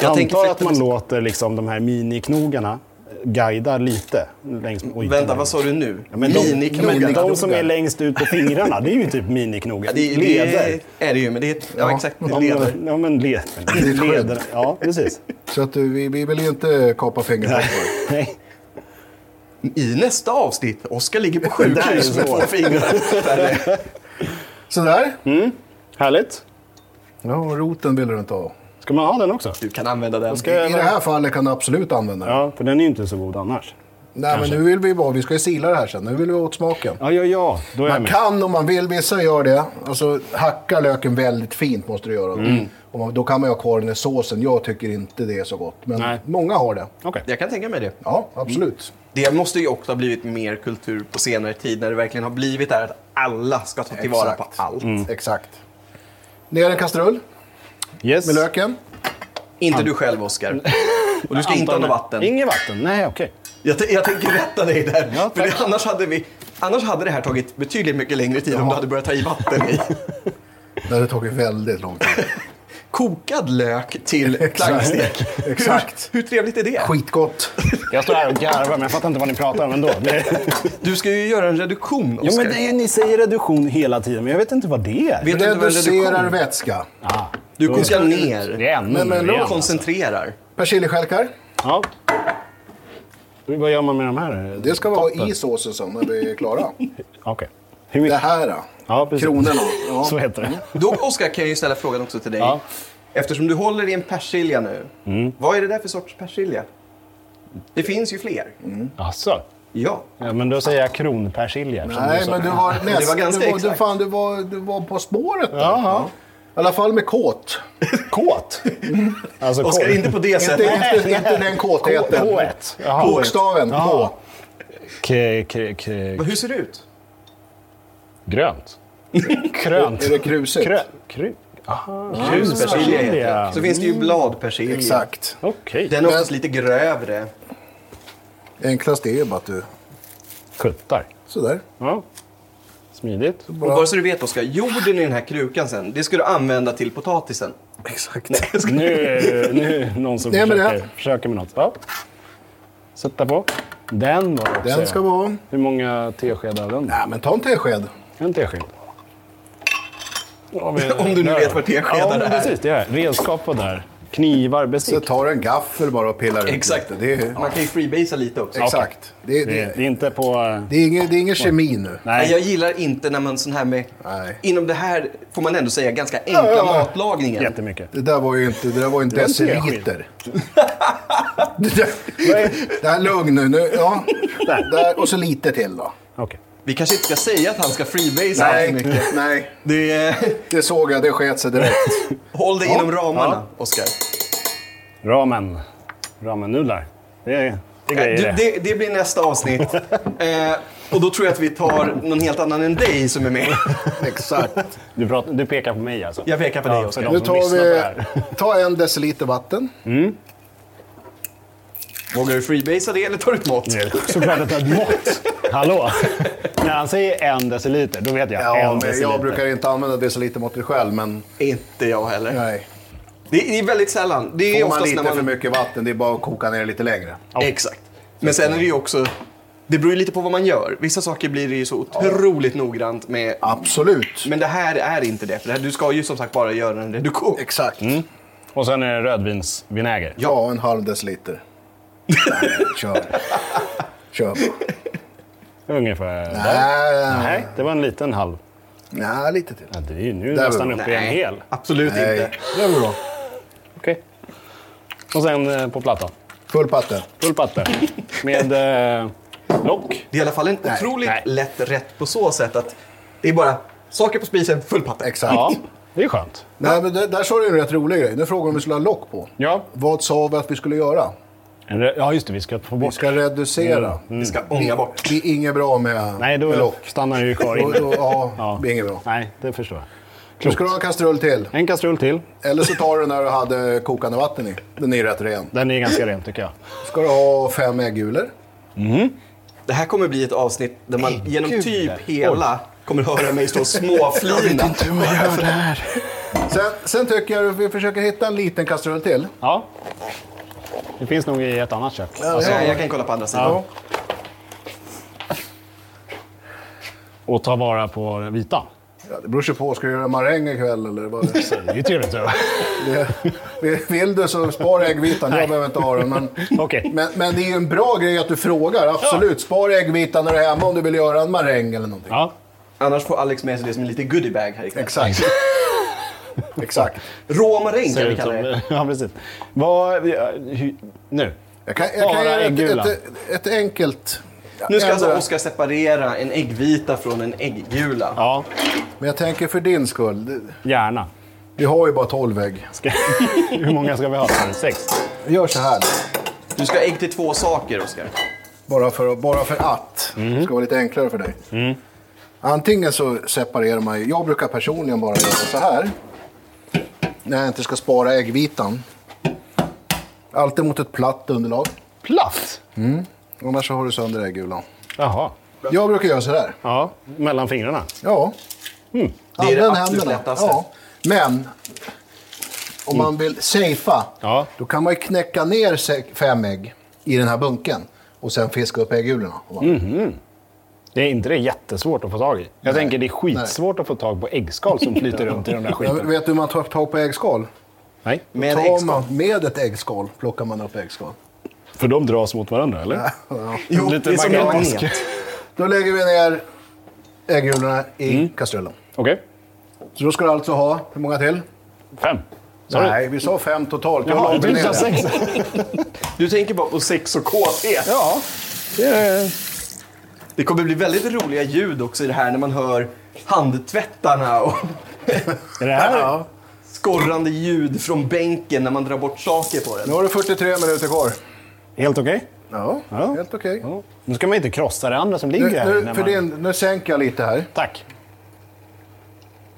Speaker 1: Jag
Speaker 2: tänker
Speaker 1: antar att
Speaker 2: faktiskt-
Speaker 1: man låter liksom de här miniknogarna eh, guida lite. Längs, oj,
Speaker 2: Vänta, vad sa du nu?
Speaker 1: Ja, men de,
Speaker 2: Miniknogar.
Speaker 1: men de som
Speaker 3: Miniknogar.
Speaker 1: är längst ut på fingrarna, det är ju typ miniknogar.
Speaker 2: [LAUGHS] Ja, det,
Speaker 1: leder.
Speaker 2: det är det ju, men det är... Ja,
Speaker 3: Ja.
Speaker 2: exakt. Det
Speaker 1: Ja,
Speaker 2: är
Speaker 1: men-
Speaker 2: leder.
Speaker 1: Ja, men led,
Speaker 3: ett skydd.
Speaker 1: leder. Ja, precis.
Speaker 3: Så att du, vi, vi vill ju inte kapa fingrarna.
Speaker 1: Nej.
Speaker 2: I nästa avsnitt, Oskar ligger på
Speaker 1: där är
Speaker 2: sjukhus med
Speaker 1: svårt.
Speaker 2: två fingrar
Speaker 1: [LAUGHS]
Speaker 2: färre.
Speaker 3: Sådär.
Speaker 1: Mm. Härligt.
Speaker 3: Ja, och roten vill du inte ha.
Speaker 1: Ska man ha den också?
Speaker 2: Du kan använda den.
Speaker 1: Ska jag-
Speaker 3: I det här fallet kan du absolut använda den.
Speaker 1: Ja, för den är ju inte så god annars.
Speaker 3: Nej, men nu vill vi bara, vi ska ju sila det här sen. Nu vill vi åt smaken.
Speaker 1: Ja, ja, ja. Då är jag
Speaker 3: Man
Speaker 1: med.
Speaker 3: kan om man vill, vissa gör det. Alltså hacka löken väldigt fint måste du göra.
Speaker 1: Mm.
Speaker 3: Och man, då kan man ju ha kvar den i såsen. Jag tycker inte det är så gott. Men
Speaker 1: Nej.
Speaker 3: många har det.
Speaker 1: Okej.
Speaker 2: Jag kan tänka mig det.
Speaker 3: Ja, absolut.
Speaker 2: Det måste ju också ha blivit mer kultur på senare tid när det verkligen har blivit där att alla ska ta tillvara på
Speaker 3: Exakt.
Speaker 2: allt.
Speaker 1: Mm.
Speaker 3: Exakt. Ner i en kastrull
Speaker 1: Yes.
Speaker 3: med löken.
Speaker 2: Inte du
Speaker 1: [LAUGHS]
Speaker 2: själv, Oskar. Och du ska inte ha något vatten.
Speaker 1: Inget vatten? Nej, okej.
Speaker 2: Jag, t- jag tänker rätta dig där.
Speaker 1: Ja,
Speaker 2: för
Speaker 1: tack.
Speaker 2: det, annars, hade vi, annars hade det här tagit betydligt mycket längre tid om du hade börjat ta i vatten i.
Speaker 3: Det hade tagit väldigt lång tid.
Speaker 2: Kokad lök till klangstek.
Speaker 3: Exakt.
Speaker 2: Hur, hur trevligt är det?
Speaker 3: Skitgott.
Speaker 1: Jag står här och garvar, men jag fattar inte vad ni pratar om ändå. Det...
Speaker 2: Du ska ju göra en reduktion,
Speaker 1: Jo,
Speaker 2: Oskar.
Speaker 1: men det är, ju- ni säger reduktion hela tiden, men jag vet inte vad det är.
Speaker 2: Vet du inte vad en
Speaker 3: Reducerar
Speaker 2: reduktion är?
Speaker 3: vätska.
Speaker 1: Ah,
Speaker 2: Du
Speaker 1: då-
Speaker 2: kokar ner,
Speaker 1: Det är ännu
Speaker 3: Men- men
Speaker 1: mer igen,
Speaker 3: låt
Speaker 1: alltså.
Speaker 2: koncentrerar.
Speaker 3: Persiljestjälkar.
Speaker 1: Ja. Vad gör man med de här?
Speaker 3: Det ska vara
Speaker 1: Toppen.
Speaker 3: i såsen sen när vi är klara.
Speaker 1: Okej. Hur
Speaker 3: Det
Speaker 1: mycket?
Speaker 3: här då.
Speaker 1: Ja, precis. [LAUGHS]
Speaker 3: Kronorna.
Speaker 1: Så
Speaker 3: Ja.
Speaker 1: heter det.
Speaker 2: Då, Oskar, kan jag ju ställa frågan också till dig.
Speaker 1: Ja. Mm.
Speaker 2: Eftersom du håller i en persilja nu. Vad är det där för sorts persilja? Det finns ju fler.
Speaker 1: Alltså,
Speaker 2: Ja.
Speaker 1: Ja, men då säger jag kronpersilja. eftersom
Speaker 3: Nej,
Speaker 1: sa-
Speaker 3: men du var nästan...
Speaker 2: var ganska
Speaker 3: du var, du,
Speaker 2: exakt.
Speaker 3: fan, du, var, du var på spåret där.
Speaker 1: Jaha.
Speaker 3: I alla fall med kåt.
Speaker 1: Kåt? Alltså
Speaker 2: Oskar,
Speaker 1: kåt.
Speaker 2: inte på det
Speaker 3: Inte,
Speaker 2: sättet.
Speaker 3: inte, inte
Speaker 1: [LAUGHS]
Speaker 3: den kåtheten.
Speaker 1: K1. Jaha.
Speaker 3: Bokstaven
Speaker 1: Jaha.
Speaker 3: K.
Speaker 1: K- k- k-
Speaker 2: Hur ser det ut?
Speaker 3: [LAUGHS]
Speaker 1: grönt. Krönt.
Speaker 3: Är det krusigt?
Speaker 1: Krö- Ah, kru- Aha.
Speaker 2: Kruspersilja heter
Speaker 1: Kruspersilja.
Speaker 2: det. Så finns det
Speaker 1: Mm.
Speaker 2: ju bladpersilja.
Speaker 3: Exakt.
Speaker 1: Okej.
Speaker 2: Den är oftast lite grövre.
Speaker 3: Enklast är ju bara att du...
Speaker 1: Kuttar.
Speaker 3: Sådär.
Speaker 1: Ja. Smidigt.
Speaker 2: Och bara så du vet Oskar, jorden i den här krukan sen, det ska du använda till potatisen.
Speaker 3: Exakt.
Speaker 2: Nej, jag skojar.
Speaker 1: Nu är det- nu är det någon som
Speaker 3: Nej, men det-
Speaker 1: försöker, försöker med något. Ja. Sätta på. Den då. säger
Speaker 3: Den
Speaker 1: jag.
Speaker 3: ska vara...
Speaker 1: Hur många teskedar av den?
Speaker 3: Nej, men ta en tesked.
Speaker 1: En tesked. Om
Speaker 2: Om du nu vet vad teskedar
Speaker 1: ja, men
Speaker 2: är.
Speaker 1: Precis, det är redskap och där. Knivar,
Speaker 3: Så
Speaker 1: bestick.
Speaker 3: tar du en gaffel bara och pillar ut
Speaker 2: Exakt.
Speaker 3: lite. Det är,
Speaker 2: Man kan ju freebasea lite också.
Speaker 3: Exakt. Det,
Speaker 1: Det,
Speaker 3: det,
Speaker 1: det är inte på... eh,
Speaker 3: det, är ingen, det är ingen kemi nu.
Speaker 2: Nej,
Speaker 1: Nej,
Speaker 2: jag gillar inte när man sån här med...
Speaker 3: Nej.
Speaker 2: Inom det här, får man ändå säga, ganska enkla
Speaker 3: ja.
Speaker 2: matlagningen.
Speaker 1: jättemycket.
Speaker 3: Det där var ju inte, det där var ju en
Speaker 1: var en tesked.
Speaker 3: deciliter. [LAUGHS] det där, det här, lugn nu. nu ja. där, och så lite till då.
Speaker 1: Okej.
Speaker 2: Vi kanske inte ska säga att han ska freebasea allt för mycket.
Speaker 3: Nej, nej.
Speaker 2: Det är...
Speaker 3: Det såg jag, det sket sig direkt.
Speaker 1: [LAUGHS]
Speaker 2: Håll dig inom ramarna, Oskar.
Speaker 1: Ramen. Ramennudlar. Det är, det är grejer
Speaker 2: Du,
Speaker 1: det.
Speaker 2: det, det blir nästa avsnitt. eh, och då tror jag att vi tar någon helt annan än dig som är med.
Speaker 3: Exakt.
Speaker 1: Du, pratar, du pekar på mig alltså?
Speaker 2: Jag pekar på dig,
Speaker 1: för
Speaker 2: Oskar.
Speaker 1: de
Speaker 3: Nu
Speaker 1: som
Speaker 3: tar
Speaker 1: lyssnar
Speaker 3: vi
Speaker 1: på det här.
Speaker 3: [LAUGHS] ta en deciliter vatten.
Speaker 2: Vågar du freebasea det eller tar du ett mått?
Speaker 1: Det
Speaker 3: [LAUGHS]
Speaker 1: är Såklart att det är ett mått. Hallå? När han säger en deciliter, då vet jag. en
Speaker 3: Ja, men
Speaker 1: deciliter.
Speaker 3: jag brukar inte använda decilitermåttet själv, men
Speaker 2: Inte jag heller.
Speaker 3: nej.
Speaker 2: Det, det är väldigt sällan. Det är
Speaker 3: Får man
Speaker 2: oftast
Speaker 3: lite
Speaker 2: när
Speaker 3: för
Speaker 2: man...
Speaker 3: mycket vatten, det är bara att koka ner det lite längre.
Speaker 2: Exakt. Men sen är det ju också... Det beror ju lite på vad man gör. Vissa saker blir det ju så otroligt noggrant med.
Speaker 3: Absolut.
Speaker 2: Men det här är inte det. För det här, du ska ju som sagt bara göra en reduktion.
Speaker 3: Exakt.
Speaker 1: Mm. Och sen är det rödvinsvinäger.
Speaker 3: Ja, en
Speaker 1: [LAUGHS]
Speaker 3: halv deciliter. Nej, Kör. Kör bara.
Speaker 1: Ungefär. där.
Speaker 3: Nej,
Speaker 1: Nej, det var en liten halv.
Speaker 3: nej, lite till.
Speaker 1: Ja, det är ju nu
Speaker 3: Där
Speaker 1: nästan
Speaker 3: var
Speaker 1: uppe i en hel.
Speaker 2: absolut
Speaker 3: Nej,
Speaker 2: inte.
Speaker 3: det var bra.
Speaker 1: Okej. Och sen eh, på plattan.
Speaker 3: Full patte.
Speaker 1: Full patte. Med eh, lock.
Speaker 2: Det är i alla fall en
Speaker 3: Nej.
Speaker 2: otroligt
Speaker 1: Nej.
Speaker 2: lätt rätt på så sätt att det är bara saker på spisen, full patte.
Speaker 3: Exakt.
Speaker 1: Ja, det är skönt.
Speaker 3: Nej, men det, där sa du en rätt rolig grej. Nu frågar de om vi skulle ha lock på.
Speaker 1: Ja.
Speaker 3: Vad sa vi att vi skulle göra?
Speaker 1: En rö- Ja, just det. Vi ska få
Speaker 3: Vi
Speaker 1: bort.
Speaker 3: ska reducera.
Speaker 2: Vi ska ånga bort.
Speaker 3: Det är inget bra med,
Speaker 1: Mm. Nej, då
Speaker 3: med lock.
Speaker 1: stannar du ju kvar
Speaker 3: Då,
Speaker 1: inne.
Speaker 3: då, ja,
Speaker 1: Ja.
Speaker 3: det är inget bra.
Speaker 1: Nej, det förstår jag.
Speaker 3: Då ska du ha en kastrull till.
Speaker 1: En kastrull till.
Speaker 3: Eller så tar du den där du hade kokande vatten i. Den är rätt ren.
Speaker 1: Den är ganska ren tycker jag.
Speaker 3: ska du ha fem äggulor.
Speaker 2: Det här kommer bli ett avsnitt där man genom typ hela kommer höra mig stå och småflina.
Speaker 3: Sen, sen tycker jag att vi försöker hitta en liten kastrull till.
Speaker 1: Ja. Det finns nog i ett annat kök.
Speaker 2: Alltså, jag kan kolla på andra sidan.
Speaker 1: Ja. Och ta vara på den vita.
Speaker 3: Ja, det beror sig på, ska du göra maräng ikväll eller vad?
Speaker 1: Det är ju trevligt. tror jag.
Speaker 3: Det- Vill du så spar äggvitan, jag behöver inte ha den. Men,
Speaker 1: Okej.
Speaker 3: men, men det är ju en bra grej att du frågar, absolut. Spar äggvitan när du är hemma om du vill göra en maräng eller någonting.
Speaker 1: Ja.
Speaker 2: Annars får Alex med sig det som en liten goodiebag här ikväll.
Speaker 3: Exakt. Exakt.
Speaker 2: Råmaräng kan
Speaker 1: Ser
Speaker 2: vi
Speaker 1: ut
Speaker 2: kalla det.
Speaker 1: som, ja, precis. Vad... ja, hy- Nu.
Speaker 3: Jag kan, jag
Speaker 1: Bara
Speaker 3: kan göra ett,
Speaker 1: äggulan.
Speaker 3: ett, ett enkelt...
Speaker 2: Nu ska alltså
Speaker 3: ändå-
Speaker 2: Oskar separera en äggvita från en ägggula.
Speaker 1: Ja,
Speaker 3: Men jag tänker för din skull. det-
Speaker 1: gärna.
Speaker 3: Vi har ju bara 12 ägg.
Speaker 1: Ska, [LAUGHS] hur många ska vi ha? Sex?
Speaker 3: Vi gör så här.
Speaker 2: Du ska ha ägg till två saker, Oskar.
Speaker 3: Bara för, bara för att. Det ska vara lite enklare för dig. Antingen så separerar man ju. Jag brukar personligen bara göra så här. När jag inte ska spara äggvitan. Alltid mot ett platt underlag.
Speaker 1: Platt?
Speaker 3: Annars så har du sönder äggulan.
Speaker 1: Jaha.
Speaker 3: Jag brukar göra så här.
Speaker 1: Ja, mellan fingrarna.
Speaker 3: Ja.
Speaker 1: Mm.
Speaker 2: Det är det
Speaker 3: Använd
Speaker 2: absolut
Speaker 3: händerna.
Speaker 2: lättaste.
Speaker 3: Ja. Men om man vill safea,
Speaker 1: Ja.
Speaker 3: då kan man ju knäcka ner se- fem ägg i den här bunken och sen fiska upp äggulorna.
Speaker 1: Mm. Det är inte det jättesvårt att få tag i. Jag tänker det är skitsvårt att få tag på äggskal som flyter runt i de där
Speaker 3: Jag [LAUGHS]
Speaker 1: skiten.
Speaker 3: vet du hur man tar tag på äggskal?
Speaker 1: Nej,
Speaker 2: Med
Speaker 3: Tar
Speaker 2: äggskal.
Speaker 3: man- Med ett äggskal plockar man upp äggskal.
Speaker 1: för de dras mot varandra, eller?
Speaker 2: Jo,
Speaker 1: Lite
Speaker 2: det är som en
Speaker 1: magnetisk.
Speaker 2: magnet.
Speaker 3: Då lägger vi ner äggulorna i
Speaker 1: Mm.
Speaker 3: kastrullen.
Speaker 1: Okej,
Speaker 3: Så då ska du alltså ha, hur många till?
Speaker 1: fem. Sa du?
Speaker 3: Nej, vi sa fem totalt. Jag
Speaker 1: Jaha,
Speaker 3: lade
Speaker 1: du
Speaker 3: ner
Speaker 1: sa
Speaker 3: det.
Speaker 1: sex. [LAUGHS]
Speaker 2: Du tänker bara på sex och kåthet.
Speaker 1: Ja, det är
Speaker 2: Det kommer bli väldigt roliga ljud också i det här när man hör handtvättarna och [LAUGHS]
Speaker 1: Är det här?
Speaker 3: Ja.
Speaker 2: skorrande ljud från bänken när man drar bort saker på den.
Speaker 3: Nu har du 43 minuter kvar.
Speaker 1: Helt okej?
Speaker 3: Ja,
Speaker 1: Ja.
Speaker 3: helt okej.
Speaker 1: Ja. Nu ska man inte krossa det andra som ligger
Speaker 3: Nu,
Speaker 1: här.
Speaker 3: nu,
Speaker 1: när
Speaker 3: för
Speaker 1: man...
Speaker 3: din, nu sänker jag lite här.
Speaker 1: Tack.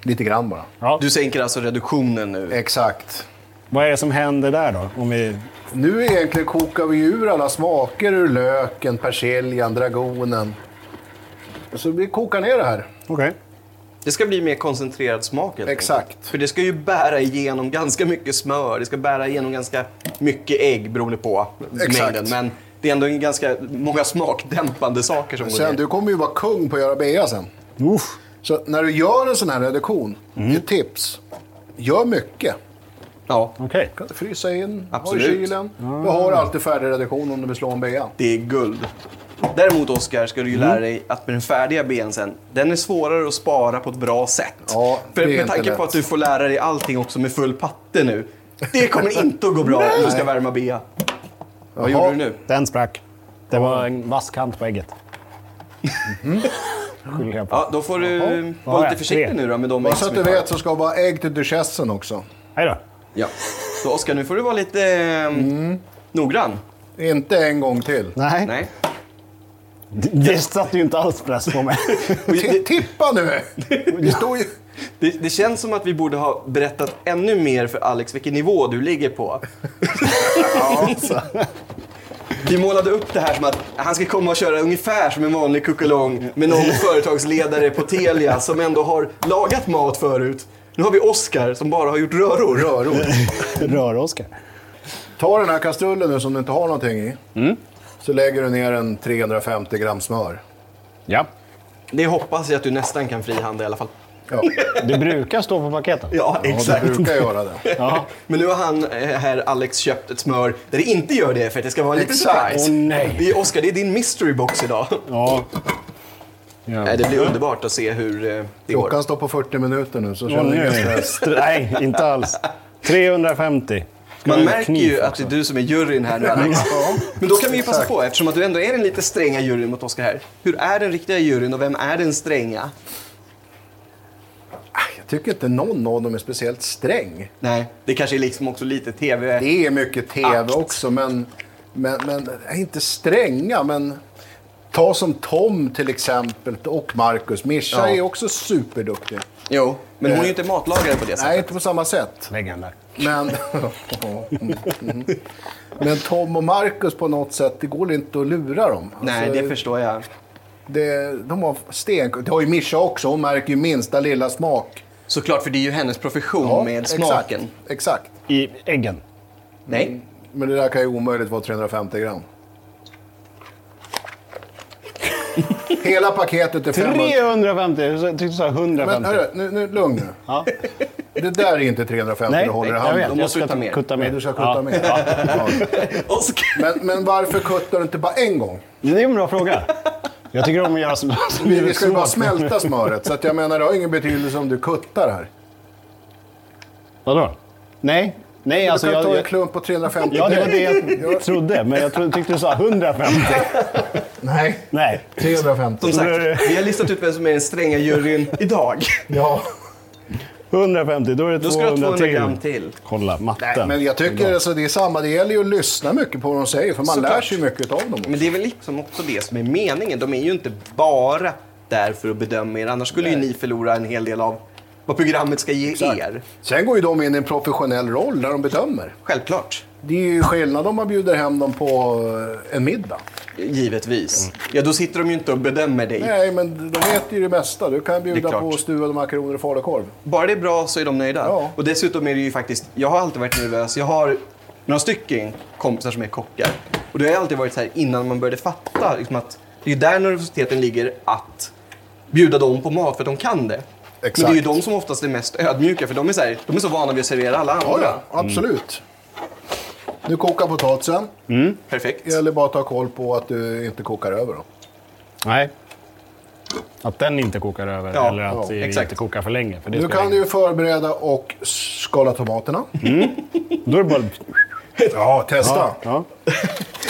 Speaker 3: Lite grann bara.
Speaker 1: Ja.
Speaker 2: Du sänker alltså reduktionen nu.
Speaker 3: Exakt.
Speaker 1: Vad är det som händer där då? Om vi...
Speaker 3: Nu egentligen kokar vi ur alla smaker ur löken, persiljan, dragonen. Så vi kokar ner det här.
Speaker 1: Okej.
Speaker 2: Det ska bli mer koncentrerad smak helt
Speaker 3: Exakt.
Speaker 2: enkelt. För det ska ju bära igenom ganska mycket smör. Det ska bära igenom ganska mycket ägg beroende på
Speaker 3: Exakt.
Speaker 2: mängden. Men det är ändå en ganska många smakdämpande saker som går
Speaker 3: Sen,
Speaker 2: ner.
Speaker 3: du kommer ju vara kung på att göra bea sen.
Speaker 1: Uff.
Speaker 3: Så när du gör en sån här reduktion, ett tips. Gör mycket.
Speaker 2: Ja,
Speaker 1: Okej.
Speaker 3: Kan du frysa in,
Speaker 2: Absolut.
Speaker 3: ha i kylen. Du har alltid färdig reduktion om du vill slå en bea.
Speaker 2: det är guld. Däremot Oskar, ska du ju
Speaker 3: Mm.
Speaker 2: lära dig att med den färdiga ben sen, den är svårare att spara på ett bra sätt.
Speaker 3: Ja, det
Speaker 2: För
Speaker 3: är
Speaker 2: med
Speaker 3: inte
Speaker 2: tanke
Speaker 3: lätt.
Speaker 2: på att du får lära dig allting också med full patte nu. Det kommer inte att gå bra om du ska värma bea. Vad gjorde du nu?
Speaker 1: Den sprack. Det var en vass kant på ägget. Mhm. Skyller jag på.
Speaker 2: Ja, då får du
Speaker 1: Vad
Speaker 2: vara
Speaker 1: har
Speaker 2: lite
Speaker 1: jag?
Speaker 2: försiktig
Speaker 1: Tre.
Speaker 2: nu då med de
Speaker 3: Bara
Speaker 2: ägg
Speaker 3: så
Speaker 2: som
Speaker 3: att du
Speaker 2: är kvar.
Speaker 3: vet så ska det vara ägg till duchessen också.
Speaker 1: Hej då.
Speaker 2: Ja. Så Oskar, nu får du vara lite eh,
Speaker 3: Mm.
Speaker 2: noggrann.
Speaker 3: Inte en gång till.
Speaker 1: Nej.
Speaker 2: Nej.
Speaker 1: Det- Det satte ju inte alls press på mig. [LAUGHS]
Speaker 3: Ti- Tippa nu! Det står ju...
Speaker 2: Det, det känns som att vi borde ha berättat ännu mer för Alex vilken nivå du ligger på.
Speaker 3: alltså.
Speaker 2: [LAUGHS] Vi målade upp det här som att han ska komma och köra ungefär som en vanlig kuckelång med
Speaker 3: [LAUGHS]
Speaker 2: någon företagsledare på Telia som ändå har lagat mat förut. Nu har vi Oskar som bara har gjort röror.
Speaker 3: Röror.
Speaker 1: Rör-Oskar.
Speaker 3: Ta den här kastrullen nu som du inte har någonting i.
Speaker 1: Mm.
Speaker 3: Så lägger du ner en 350 gram smör.
Speaker 1: Ja.
Speaker 2: Det hoppas jag att du nästan kan frihandla i alla fall.
Speaker 1: [LAUGHS]
Speaker 3: Ja,
Speaker 1: Det brukar stå på paketen.
Speaker 2: Ja,
Speaker 3: ja
Speaker 2: exakt.
Speaker 3: du brukar göra det.
Speaker 1: [LAUGHS] Ja.
Speaker 2: Men nu har han, eh, herr Alex, köpt ett smör där det inte gör det för att det ska vara en liten
Speaker 3: Exakt.
Speaker 2: surprise.
Speaker 1: Åh, nej.
Speaker 2: Det är Oscar, det är din mystery box idag.
Speaker 1: ja.
Speaker 2: Nej, det blir underbart att se hur eh, det går.
Speaker 3: Klockan står på 40 minuter nu, så
Speaker 1: Åh,
Speaker 3: känner
Speaker 1: nu
Speaker 3: jag
Speaker 1: är
Speaker 3: ingen
Speaker 1: det
Speaker 3: stress.
Speaker 1: str- Nej, inte alls. 350. Ska
Speaker 2: Man
Speaker 1: ha en
Speaker 2: märker
Speaker 1: kniv
Speaker 2: ju att
Speaker 1: också?
Speaker 2: det är du som är juryn här nu, Alex. Men då kan vi ju passa
Speaker 3: Exakt.
Speaker 2: på, eftersom att du ändå är den lite stränga juryn mot Oscar här. Hur är den riktiga juryn och vem är den stränga?
Speaker 3: Jag tycker inte någon av dem är speciellt sträng.
Speaker 2: Nej, det kanske är liksom också lite TV.
Speaker 3: Det är mycket tv också, men, men, men är inte stränga. Men ta som Tom till exempel och Marcus. Mischa
Speaker 2: Ja.
Speaker 3: är också superduktig.
Speaker 2: Jo, men hon är ju inte matlagare på det sättet.
Speaker 3: Eh, Nej, inte på samma sätt.
Speaker 1: Lägg den där.
Speaker 3: Men, [LAUGHS] men Tom och Marcus på något sätt, det går inte att lura dem.
Speaker 2: Nej,
Speaker 3: Alltså,
Speaker 2: det förstår jag.
Speaker 3: det, de har sten. Det har ju Mischa också. Hon märker ju minsta lilla smak.
Speaker 2: Såklart, för det är ju hennes profession
Speaker 3: Ja,
Speaker 2: med smaken.
Speaker 3: Exakt, exakt.
Speaker 1: I äggen.
Speaker 2: Nej.
Speaker 3: Men det där kan ju omöjligt vara 350 gram. Hela paketet är 500.
Speaker 1: 350. Jag tyckte du sa 150.
Speaker 3: Men hörru, nu, nu, lugn nu.
Speaker 1: ja.
Speaker 3: Det där är inte 350
Speaker 1: Nej,
Speaker 3: du håller i
Speaker 1: jag vet.
Speaker 3: handen.
Speaker 2: Då
Speaker 1: Jag
Speaker 2: måste
Speaker 1: ska
Speaker 2: du ta mer.
Speaker 1: kutta mer.
Speaker 3: Nej, du ska kutta
Speaker 1: ja.
Speaker 3: mer. Ja.
Speaker 2: Oscar!
Speaker 3: Men, men varför kuttar du inte bara en gång?
Speaker 1: Det är en bra fråga. Jag tycker om att göra som som
Speaker 3: [LAUGHS] Vi,
Speaker 1: är
Speaker 3: vi ska ju
Speaker 1: svårt.
Speaker 3: bara smälta smöret. Så att jag menar, det har ingen betydelse om du kuttar här.
Speaker 1: Vadå? Nej. Nej,
Speaker 3: Du
Speaker 1: alltså
Speaker 3: kan
Speaker 1: jag...
Speaker 3: ta en
Speaker 1: jag
Speaker 3: klump på 350
Speaker 1: ja, det var
Speaker 3: direkt.
Speaker 1: det jag trodde. Men jag trodde, tyckte du sa 150.
Speaker 3: [LAUGHS] Nej,
Speaker 1: Nej.
Speaker 3: 350.
Speaker 2: Som sagt, vi har listat ut vem som är den stränga
Speaker 3: [LAUGHS]
Speaker 2: juryn idag.
Speaker 3: Ja.
Speaker 1: 150, då är det
Speaker 2: Då ska du ha
Speaker 1: 200
Speaker 2: 200
Speaker 1: till.
Speaker 2: gram till.
Speaker 1: Kolla, matten.
Speaker 3: Nej, men jag tycker alltså, det är samma. Det gäller ju att lyssna mycket på vad de säger, för man
Speaker 2: Såklart.
Speaker 3: lär sig ju mycket av dem.
Speaker 2: Men det är väl liksom också det som är meningen. De är ju inte bara där för att bedöma er. Annars skulle ju ni förlora en hel del av vad programmet ska ge er.
Speaker 3: Sen går ju de in i en professionell roll när de bedömer.
Speaker 2: Självklart.
Speaker 3: Det är ju skillnad om man bjuder hem dem på eh, en middag.
Speaker 2: Givetvis. Ja, då sitter de ju inte och bedömer dig.
Speaker 3: Nej, men de vet ju det mesta. Du kan
Speaker 2: Det är
Speaker 3: bjuda
Speaker 2: klart.
Speaker 3: på stuvade makaroner och falukorv.
Speaker 2: Bara det är bra så är de nöjda.
Speaker 3: Ja.
Speaker 2: Och dessutom är det ju faktiskt, jag har alltid varit nervös. Jag har några stycken kompisar som är kockar. Och det har jag alltid varit så här innan man började fatta liksom att det är ju där nervositeten ligger att bjuda dem på mat för att de kan det. Men det är ju
Speaker 3: Exakt.
Speaker 2: de som oftast är mest ödmjuka för de är så, här, de är så vana vid att servera alla andra.
Speaker 3: Ja, ja, absolut. Nu kokar potatisen.
Speaker 2: Perfekt.
Speaker 3: Det gäller bara att ta koll på att du inte kokar över dem.
Speaker 1: Nej. Att den inte kokar över
Speaker 2: Ja,
Speaker 1: eller att
Speaker 2: ja,
Speaker 1: vi
Speaker 2: exakt.
Speaker 1: inte kokar för länge. För det
Speaker 3: Nu
Speaker 1: spelar
Speaker 3: kan du
Speaker 1: ingen-
Speaker 3: ju förbereda och
Speaker 1: [LAUGHS]
Speaker 3: skala tomaterna.
Speaker 1: Då är det bara...
Speaker 3: Ja, testa.
Speaker 1: Ja.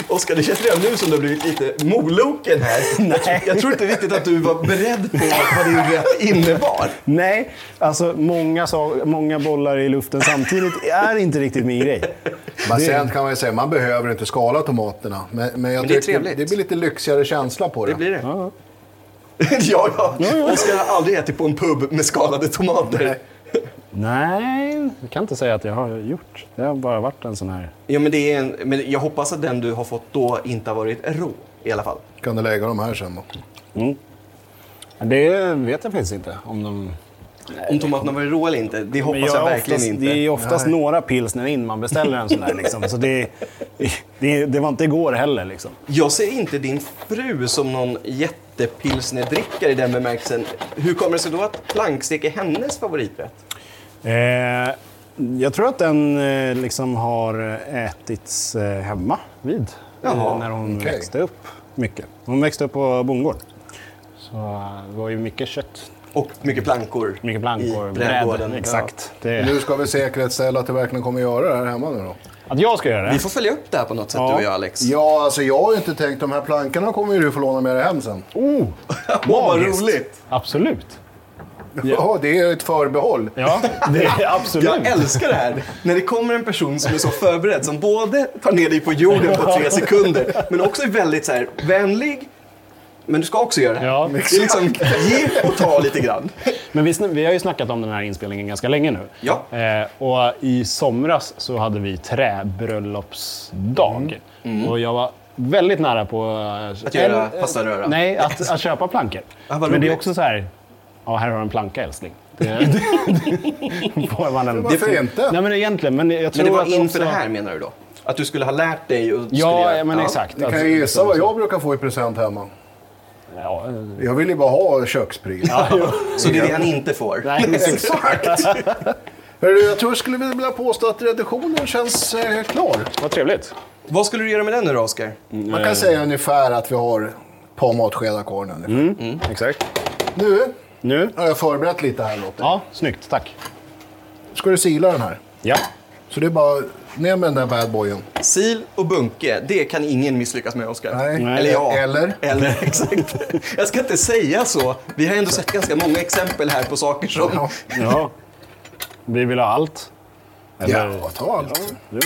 Speaker 2: Oskar, det känns redan nu som du har blivit lite moloken här. Jag, tror- jag tror inte riktigt att du var beredd på vad din rätt innebar.
Speaker 1: Nej, alltså många, sa- många bollar i luften samtidigt är inte riktigt min grej.
Speaker 3: Men sen kan man ju säga, man behöver inte skala tomaterna. Men, men jag
Speaker 2: det är
Speaker 3: tycker
Speaker 2: trevligt.
Speaker 3: det blir lite lyxigare känsla på det.
Speaker 2: Det blir det. [LAUGHS] Ja, ja. Oskar har aldrig ätit på en pub med skalade tomater.
Speaker 1: Nej, jag kan inte säga att jag har gjort. Det har bara varit en sån här...
Speaker 2: Ja, men, det är en, men jag hoppas att den du har fått då inte har varit rå i alla fall.
Speaker 3: Kan du lägga de här sen då?
Speaker 1: Det vet jag faktiskt inte. Om de...
Speaker 2: Om tomaterna var rå eller inte, det hoppas jag, verkligen
Speaker 1: oftast,
Speaker 2: inte.
Speaker 1: Det är ju oftast några pilsner in man beställer en sån där. Liksom. Så det, det, det var inte igår heller. Liksom.
Speaker 2: Jag ser inte din fru som någon jättepilsnerdrickare i den bemärkelsen. Hur kommer det sig då att plankstek är hennes favoriträtt?
Speaker 1: Eh, jag tror att den eh, liksom har ätits eh, hemma vid
Speaker 2: Jaha,
Speaker 1: eh, när hon
Speaker 3: okej.
Speaker 1: växte upp. mycket. Hon växte upp på bondgård. Så eh, det var ju mycket kött,
Speaker 2: Och mycket plankor.
Speaker 1: mycket plankor, brädor.
Speaker 2: I brädgården.
Speaker 1: Exakt. Det,
Speaker 3: Nu ska vi säkerhetsställa att du verkligen kommer göra det här hemma nu då.
Speaker 1: att jag ska göra
Speaker 2: Vi
Speaker 1: det?
Speaker 2: får följa upp det här på något sätt
Speaker 1: Ja.
Speaker 2: du och jag Alex.
Speaker 3: Ja, alltså jag har ju inte tänkt, de här plankorna kommer ju du få låna med dig hem sen.
Speaker 2: [LAUGHS]
Speaker 1: Oh,
Speaker 2: Åh, vad
Speaker 1: magiskt.
Speaker 2: roligt!
Speaker 1: Absolut.
Speaker 3: Ja, det är ett förbehåll.
Speaker 1: Ja, [LAUGHS] det är absolut.
Speaker 2: Jag älskar
Speaker 1: [LAUGHS]
Speaker 2: det här. När det kommer en person som är så förberedd, som både tar ner dig på jorden på tre sekunder, men också är väldigt så här, vänlig, men du ska också göra det här.
Speaker 1: Ja.
Speaker 2: det
Speaker 1: [LAUGHS]
Speaker 2: är liksom ge och ta lite grann.
Speaker 1: Men vi, sn- vi har ju snackat om den här inspelningen ganska länge nu.
Speaker 2: Ja.
Speaker 1: Eh, och i somras så hade vi träbröllopsdag. Och jag var väldigt nära på... eh,
Speaker 2: Mm. Att göra
Speaker 1: en- eh,
Speaker 2: pastaröra.
Speaker 1: Nej, att, att köpa plankor.
Speaker 2: [LAUGHS] Ah, vad
Speaker 1: Men det är
Speaker 2: roligt.
Speaker 1: också så här... Ja, här har du en planka
Speaker 2: [LAUGHS]
Speaker 1: älskling. Det, får man en...
Speaker 3: Varför inte?
Speaker 1: Nej, men egentligen. Men jag tror
Speaker 2: Men det var
Speaker 1: att
Speaker 2: inför
Speaker 1: också...
Speaker 2: det här menar du då? Att du skulle ha lärt dig och du skulle
Speaker 1: Ja,
Speaker 2: göra-
Speaker 1: men exakt.
Speaker 3: Ni kan ju gissa vad jag brukar få i present hemma.
Speaker 1: Ja, eh,
Speaker 3: Jag vill ju bara ha kökspryl.
Speaker 2: Så det är det han inte får?
Speaker 1: nej, precis.
Speaker 3: Exakt! Hörru, jag tror jag skulle vilja påstå att reduktionen känns eh, klar.
Speaker 1: Vad trevligt.
Speaker 2: Vad skulle du göra med den nu då, Oskar?
Speaker 3: Man kan säga ungefär att vi har ett par matskedar kvar nu. ungefär.
Speaker 1: Exakt.
Speaker 3: Nu
Speaker 1: Nu?
Speaker 3: har jag förberett lite här Lotte.
Speaker 1: Ja, snyggt. Tack.
Speaker 3: Ska du sila den här?
Speaker 1: Ja.
Speaker 3: Så det är bara ner med den där badboyen.
Speaker 2: Sil och bunke, det kan ingen misslyckas med, Oskar.
Speaker 3: Nej.
Speaker 1: Nej.
Speaker 2: Eller jag.
Speaker 3: Eller?
Speaker 2: Eller, [LAUGHS] exakt. Jag ska inte säga så. Vi har ändå sett ganska många exempel här på saker som...
Speaker 3: Ja,
Speaker 1: ja. Vi vill ha allt.
Speaker 3: ja ta allt.
Speaker 1: Jo.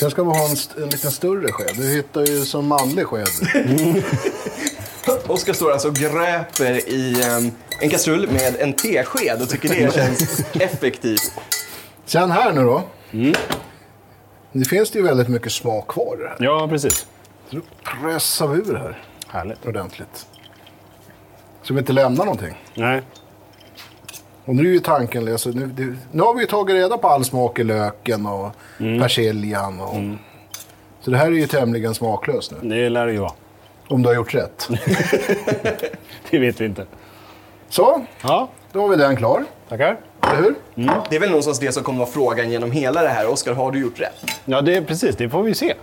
Speaker 3: Sen ska vi ha en, st- en liten större sked. Du hittar ju som manlig sked.
Speaker 2: Oskar står alltså och gräper i em, en kastrull med en tesked och tycker
Speaker 3: [LAUGHS]
Speaker 2: det känns effektivt.
Speaker 3: Sen här nu då. Nu finns det ju väldigt mycket smak kvar i det här.
Speaker 1: Ja, precis.
Speaker 3: Så då pressar vi ur det här
Speaker 1: Härligt.
Speaker 3: ordentligt. Så vi inte lämnar någonting.
Speaker 1: Nej.
Speaker 3: Och nu är ju tanken, alltså, nu, det, nu har vi ju tagit reda på all smak i löken och
Speaker 2: Mm.
Speaker 3: persiljan. Och, Så det här är ju tämligen smaklöst nu.
Speaker 1: Det lär det ju vara. [LAUGHS]
Speaker 3: Om du har
Speaker 2: [LAUGHS]
Speaker 3: gjort rätt.
Speaker 1: Det vet vi inte.
Speaker 3: Så,
Speaker 1: Ja,
Speaker 3: då har vi den klar.
Speaker 1: tackar.
Speaker 3: Eller hur?
Speaker 2: Det är väl någonstans det som kommer vara frågan genom hela det här. Oskar, har du gjort rätt?
Speaker 1: Ja, det, precis. Det får vi se.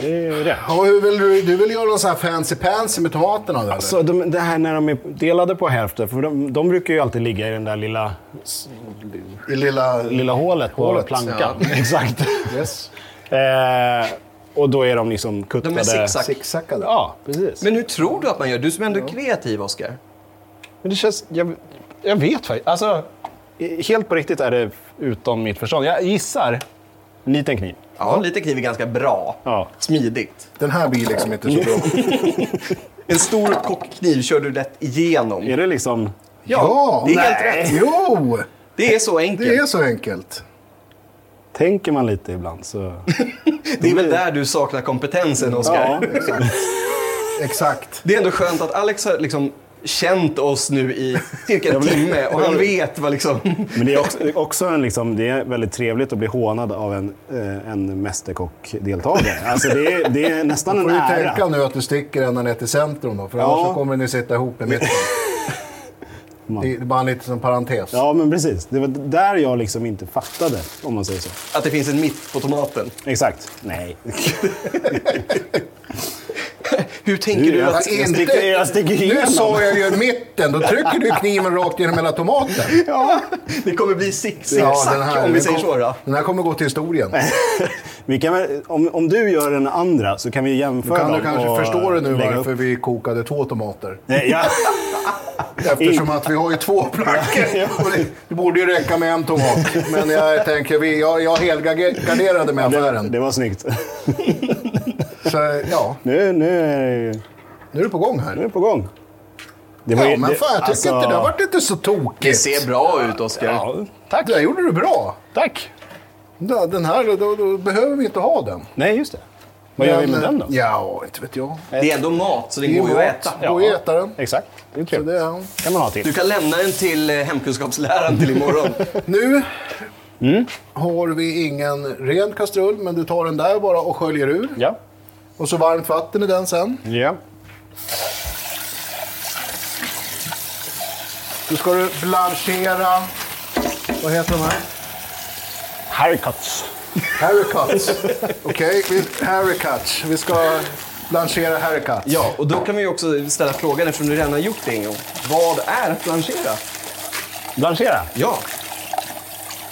Speaker 1: Det är ju det.
Speaker 3: Ja, hur vill du, du vill göra någon sån här fancy pansy med tomaterna? Eller?
Speaker 2: Alltså,
Speaker 1: Så de, det här när de är delade på hälften, för de, de brukar ju alltid ligga i den där lilla,
Speaker 3: I lilla...
Speaker 1: lilla hålet på
Speaker 3: Hålet,
Speaker 1: plankan. [LAUGHS] Exakt.
Speaker 3: Yes.
Speaker 1: Eh, och då är de liksom kuttade.
Speaker 2: De är zigzag.
Speaker 3: Zigzackade.
Speaker 1: Ja, precis. Men,
Speaker 2: Men hur tror du att man gör? Du som ändå är kreativ, Oskar.
Speaker 1: det känns... Jag, jag vet faktiskt. Alltså, i- helt på riktigt är det utom mitt förstånd. Jag gissar en liten kniv.
Speaker 2: Ja, lite kniv är ganska bra.
Speaker 1: Ja.
Speaker 2: Smidigt.
Speaker 3: Den här blir
Speaker 2: [LAUGHS]
Speaker 3: liksom inte så bra.
Speaker 2: En stor kockkniv kör du rätt igenom.
Speaker 1: Är det liksom...
Speaker 3: Ja,
Speaker 2: det är helt
Speaker 3: nej.
Speaker 2: rätt.
Speaker 3: Jo!
Speaker 2: Det är så enkelt.
Speaker 3: Det är så enkelt.
Speaker 1: Tänker man lite ibland så...
Speaker 2: väl där du saknar kompetensen, Oskar.
Speaker 1: [LAUGHS] Ja,
Speaker 3: exakt. exakt.
Speaker 2: Det är ändå skönt att Alex har liksom känt oss nu i cirka en timme och han vet vad liksom...
Speaker 1: Men det är också, det är också en, liksom, det är väldigt trevligt att bli hånad av en, eh, en mästerkockdeltagare. Alltså det, är, det är nästan en
Speaker 3: får du
Speaker 1: ära.
Speaker 3: tänka nu att du sticker ända ner till centrum då, för annars så kommer ni sitta ihop i
Speaker 1: [LAUGHS]
Speaker 3: mitten. Det är bara en liten parentes.
Speaker 1: Ja, men precis. Det var där jag liksom inte fattade, om man säger så.
Speaker 2: Att det finns en mitt på tomaten.
Speaker 1: Exakt. Nej.
Speaker 2: Hur tänker du
Speaker 1: jag,
Speaker 2: att...
Speaker 1: jag sticker, jag sticker
Speaker 3: Nu
Speaker 1: igenom.
Speaker 3: sa jag ju mitten, då trycker du kniven rakt genom hela tomaten.
Speaker 2: Ja, det kommer bli sick, sick,
Speaker 3: den här-
Speaker 2: om vi
Speaker 3: den
Speaker 2: säger
Speaker 3: kom-
Speaker 2: så. Då.
Speaker 3: Den här kommer gå till historien.
Speaker 1: [LAUGHS] Vi kan, väl- om, om du gör den andra så kan vi
Speaker 3: Då
Speaker 1: jämföra
Speaker 3: kan du
Speaker 1: dem
Speaker 3: kanske
Speaker 1: och
Speaker 3: förstå det nu
Speaker 1: lägga
Speaker 3: varför
Speaker 1: upp.
Speaker 3: vi kokade två tomater.
Speaker 1: Nej, ja.
Speaker 3: [LAUGHS] Eftersom att vi har ju två plankor. Och det- Det borde ju räcka med en tomat. Men jag tänker, vi, jag, jag helgarderade med
Speaker 1: Det
Speaker 3: affären.
Speaker 1: var snyggt. [LAUGHS]
Speaker 3: Så ja,
Speaker 1: Nu, nu är det ju-
Speaker 3: nu är det på gång här.
Speaker 1: nu är det på gång. Det
Speaker 3: Ja,
Speaker 1: ju-
Speaker 3: men fan, jag tycker
Speaker 1: alltså-
Speaker 3: inte det har varit inte så
Speaker 2: Det
Speaker 3: tokigt.
Speaker 2: ser bra ut, Oskar.
Speaker 1: Ja,
Speaker 3: Tack. Det där gjorde du bra.
Speaker 1: tack.
Speaker 3: Ja, Den här, då, då behöver vi inte ha den.
Speaker 1: Nej, just det. Vad gör vi med den då?
Speaker 3: Ja, inte vet jag.
Speaker 2: Det är ändå mat, så den
Speaker 3: Det är
Speaker 2: går ju
Speaker 3: mat.
Speaker 2: att äta.
Speaker 3: Ja. Gå och äta den.
Speaker 1: Exakt. Det är
Speaker 3: Så
Speaker 1: trevligt.
Speaker 3: det är...
Speaker 1: kan man ha till.
Speaker 2: Du kan lämna den till eh, hemkunskapsläraren till imorgon.
Speaker 3: Nu
Speaker 1: Mm.
Speaker 3: har vi ingen ren kastrull, men du tar den där bara och sköljer ur.
Speaker 1: Ja.
Speaker 3: Och så varmt vatten i den sen.
Speaker 1: ja.
Speaker 3: Då ska du blanchera... Vad heter de här?
Speaker 1: Haircuts.
Speaker 3: Haricots.
Speaker 1: [LAUGHS]
Speaker 3: Okej, vi- haricots. Vi ska blanchera haricots.
Speaker 2: ja, och då kan vi ju också ställa frågan, eftersom du redan har gjort det en gång. Vad är att planchera?
Speaker 1: Blanchera.
Speaker 2: Ja,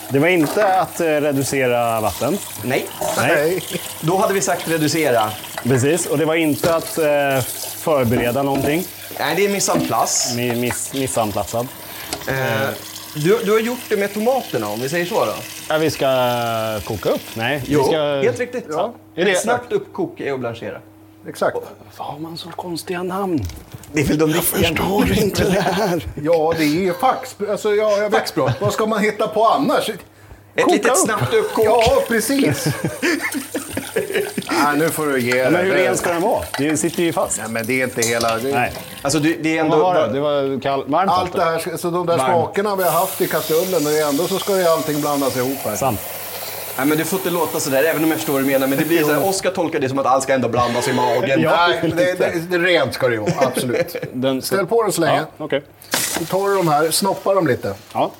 Speaker 1: Det var inte att eh, reducera vatten.
Speaker 2: nej.
Speaker 3: Nej.
Speaker 2: Då hade vi sagt reducera.
Speaker 1: Precis. Och det var inte att eh, förbereda någonting.
Speaker 2: Nej, det är mise en place.
Speaker 1: Mi- Miss, missanplatsad.
Speaker 2: Eh, du, du har gjort det med tomaterna, om vi säger så. Då.
Speaker 1: Ja, vi ska eh, koka upp. Nej,
Speaker 2: Jo,
Speaker 1: vi ska...
Speaker 2: helt riktigt.
Speaker 3: Ja.
Speaker 1: Är det-
Speaker 2: Snabbt uppkoka och blanchera.
Speaker 3: Exakt.
Speaker 1: Vad har man så konstiga namn?
Speaker 2: Det är väl de riktiga
Speaker 1: Förstår inte det här.
Speaker 3: Ja, det är ju fax. Alltså, ja, jag vet.
Speaker 2: Faxbrott.
Speaker 3: Vad ska man hitta på annars?
Speaker 2: Ett
Speaker 3: Koka
Speaker 2: litet
Speaker 3: upp.
Speaker 2: snabbt uppkok.
Speaker 3: Ja, precis. Nej, nu får du ge
Speaker 1: Men hur
Speaker 3: dig.
Speaker 1: ren ska den vara? Det sitter ju fast.
Speaker 3: Nej, men det är inte hela... Det...
Speaker 1: Nej.
Speaker 2: Alltså, du, det är ändå...
Speaker 1: Vad var det? Det var kall, varmt
Speaker 3: Allt det här, ska- så de där
Speaker 1: Varmt.
Speaker 3: smakerna vi har haft i kastrullen, det är ändå så ska ju allting blandas ihop här.
Speaker 1: Sant.
Speaker 2: Nej, men du får inte låta sådär, även om jag förstår vad du menar. Men det blir så här, Oskar tolkar det som att allt ska ändå blandas i magen.
Speaker 3: Nej, det, det, det, rent ska det ju vara, absolut.
Speaker 1: Den ska-
Speaker 3: Ställ på den så länge.
Speaker 1: Ja, okej.
Speaker 3: Så tar du de här, snoppar dem lite.
Speaker 1: Ja.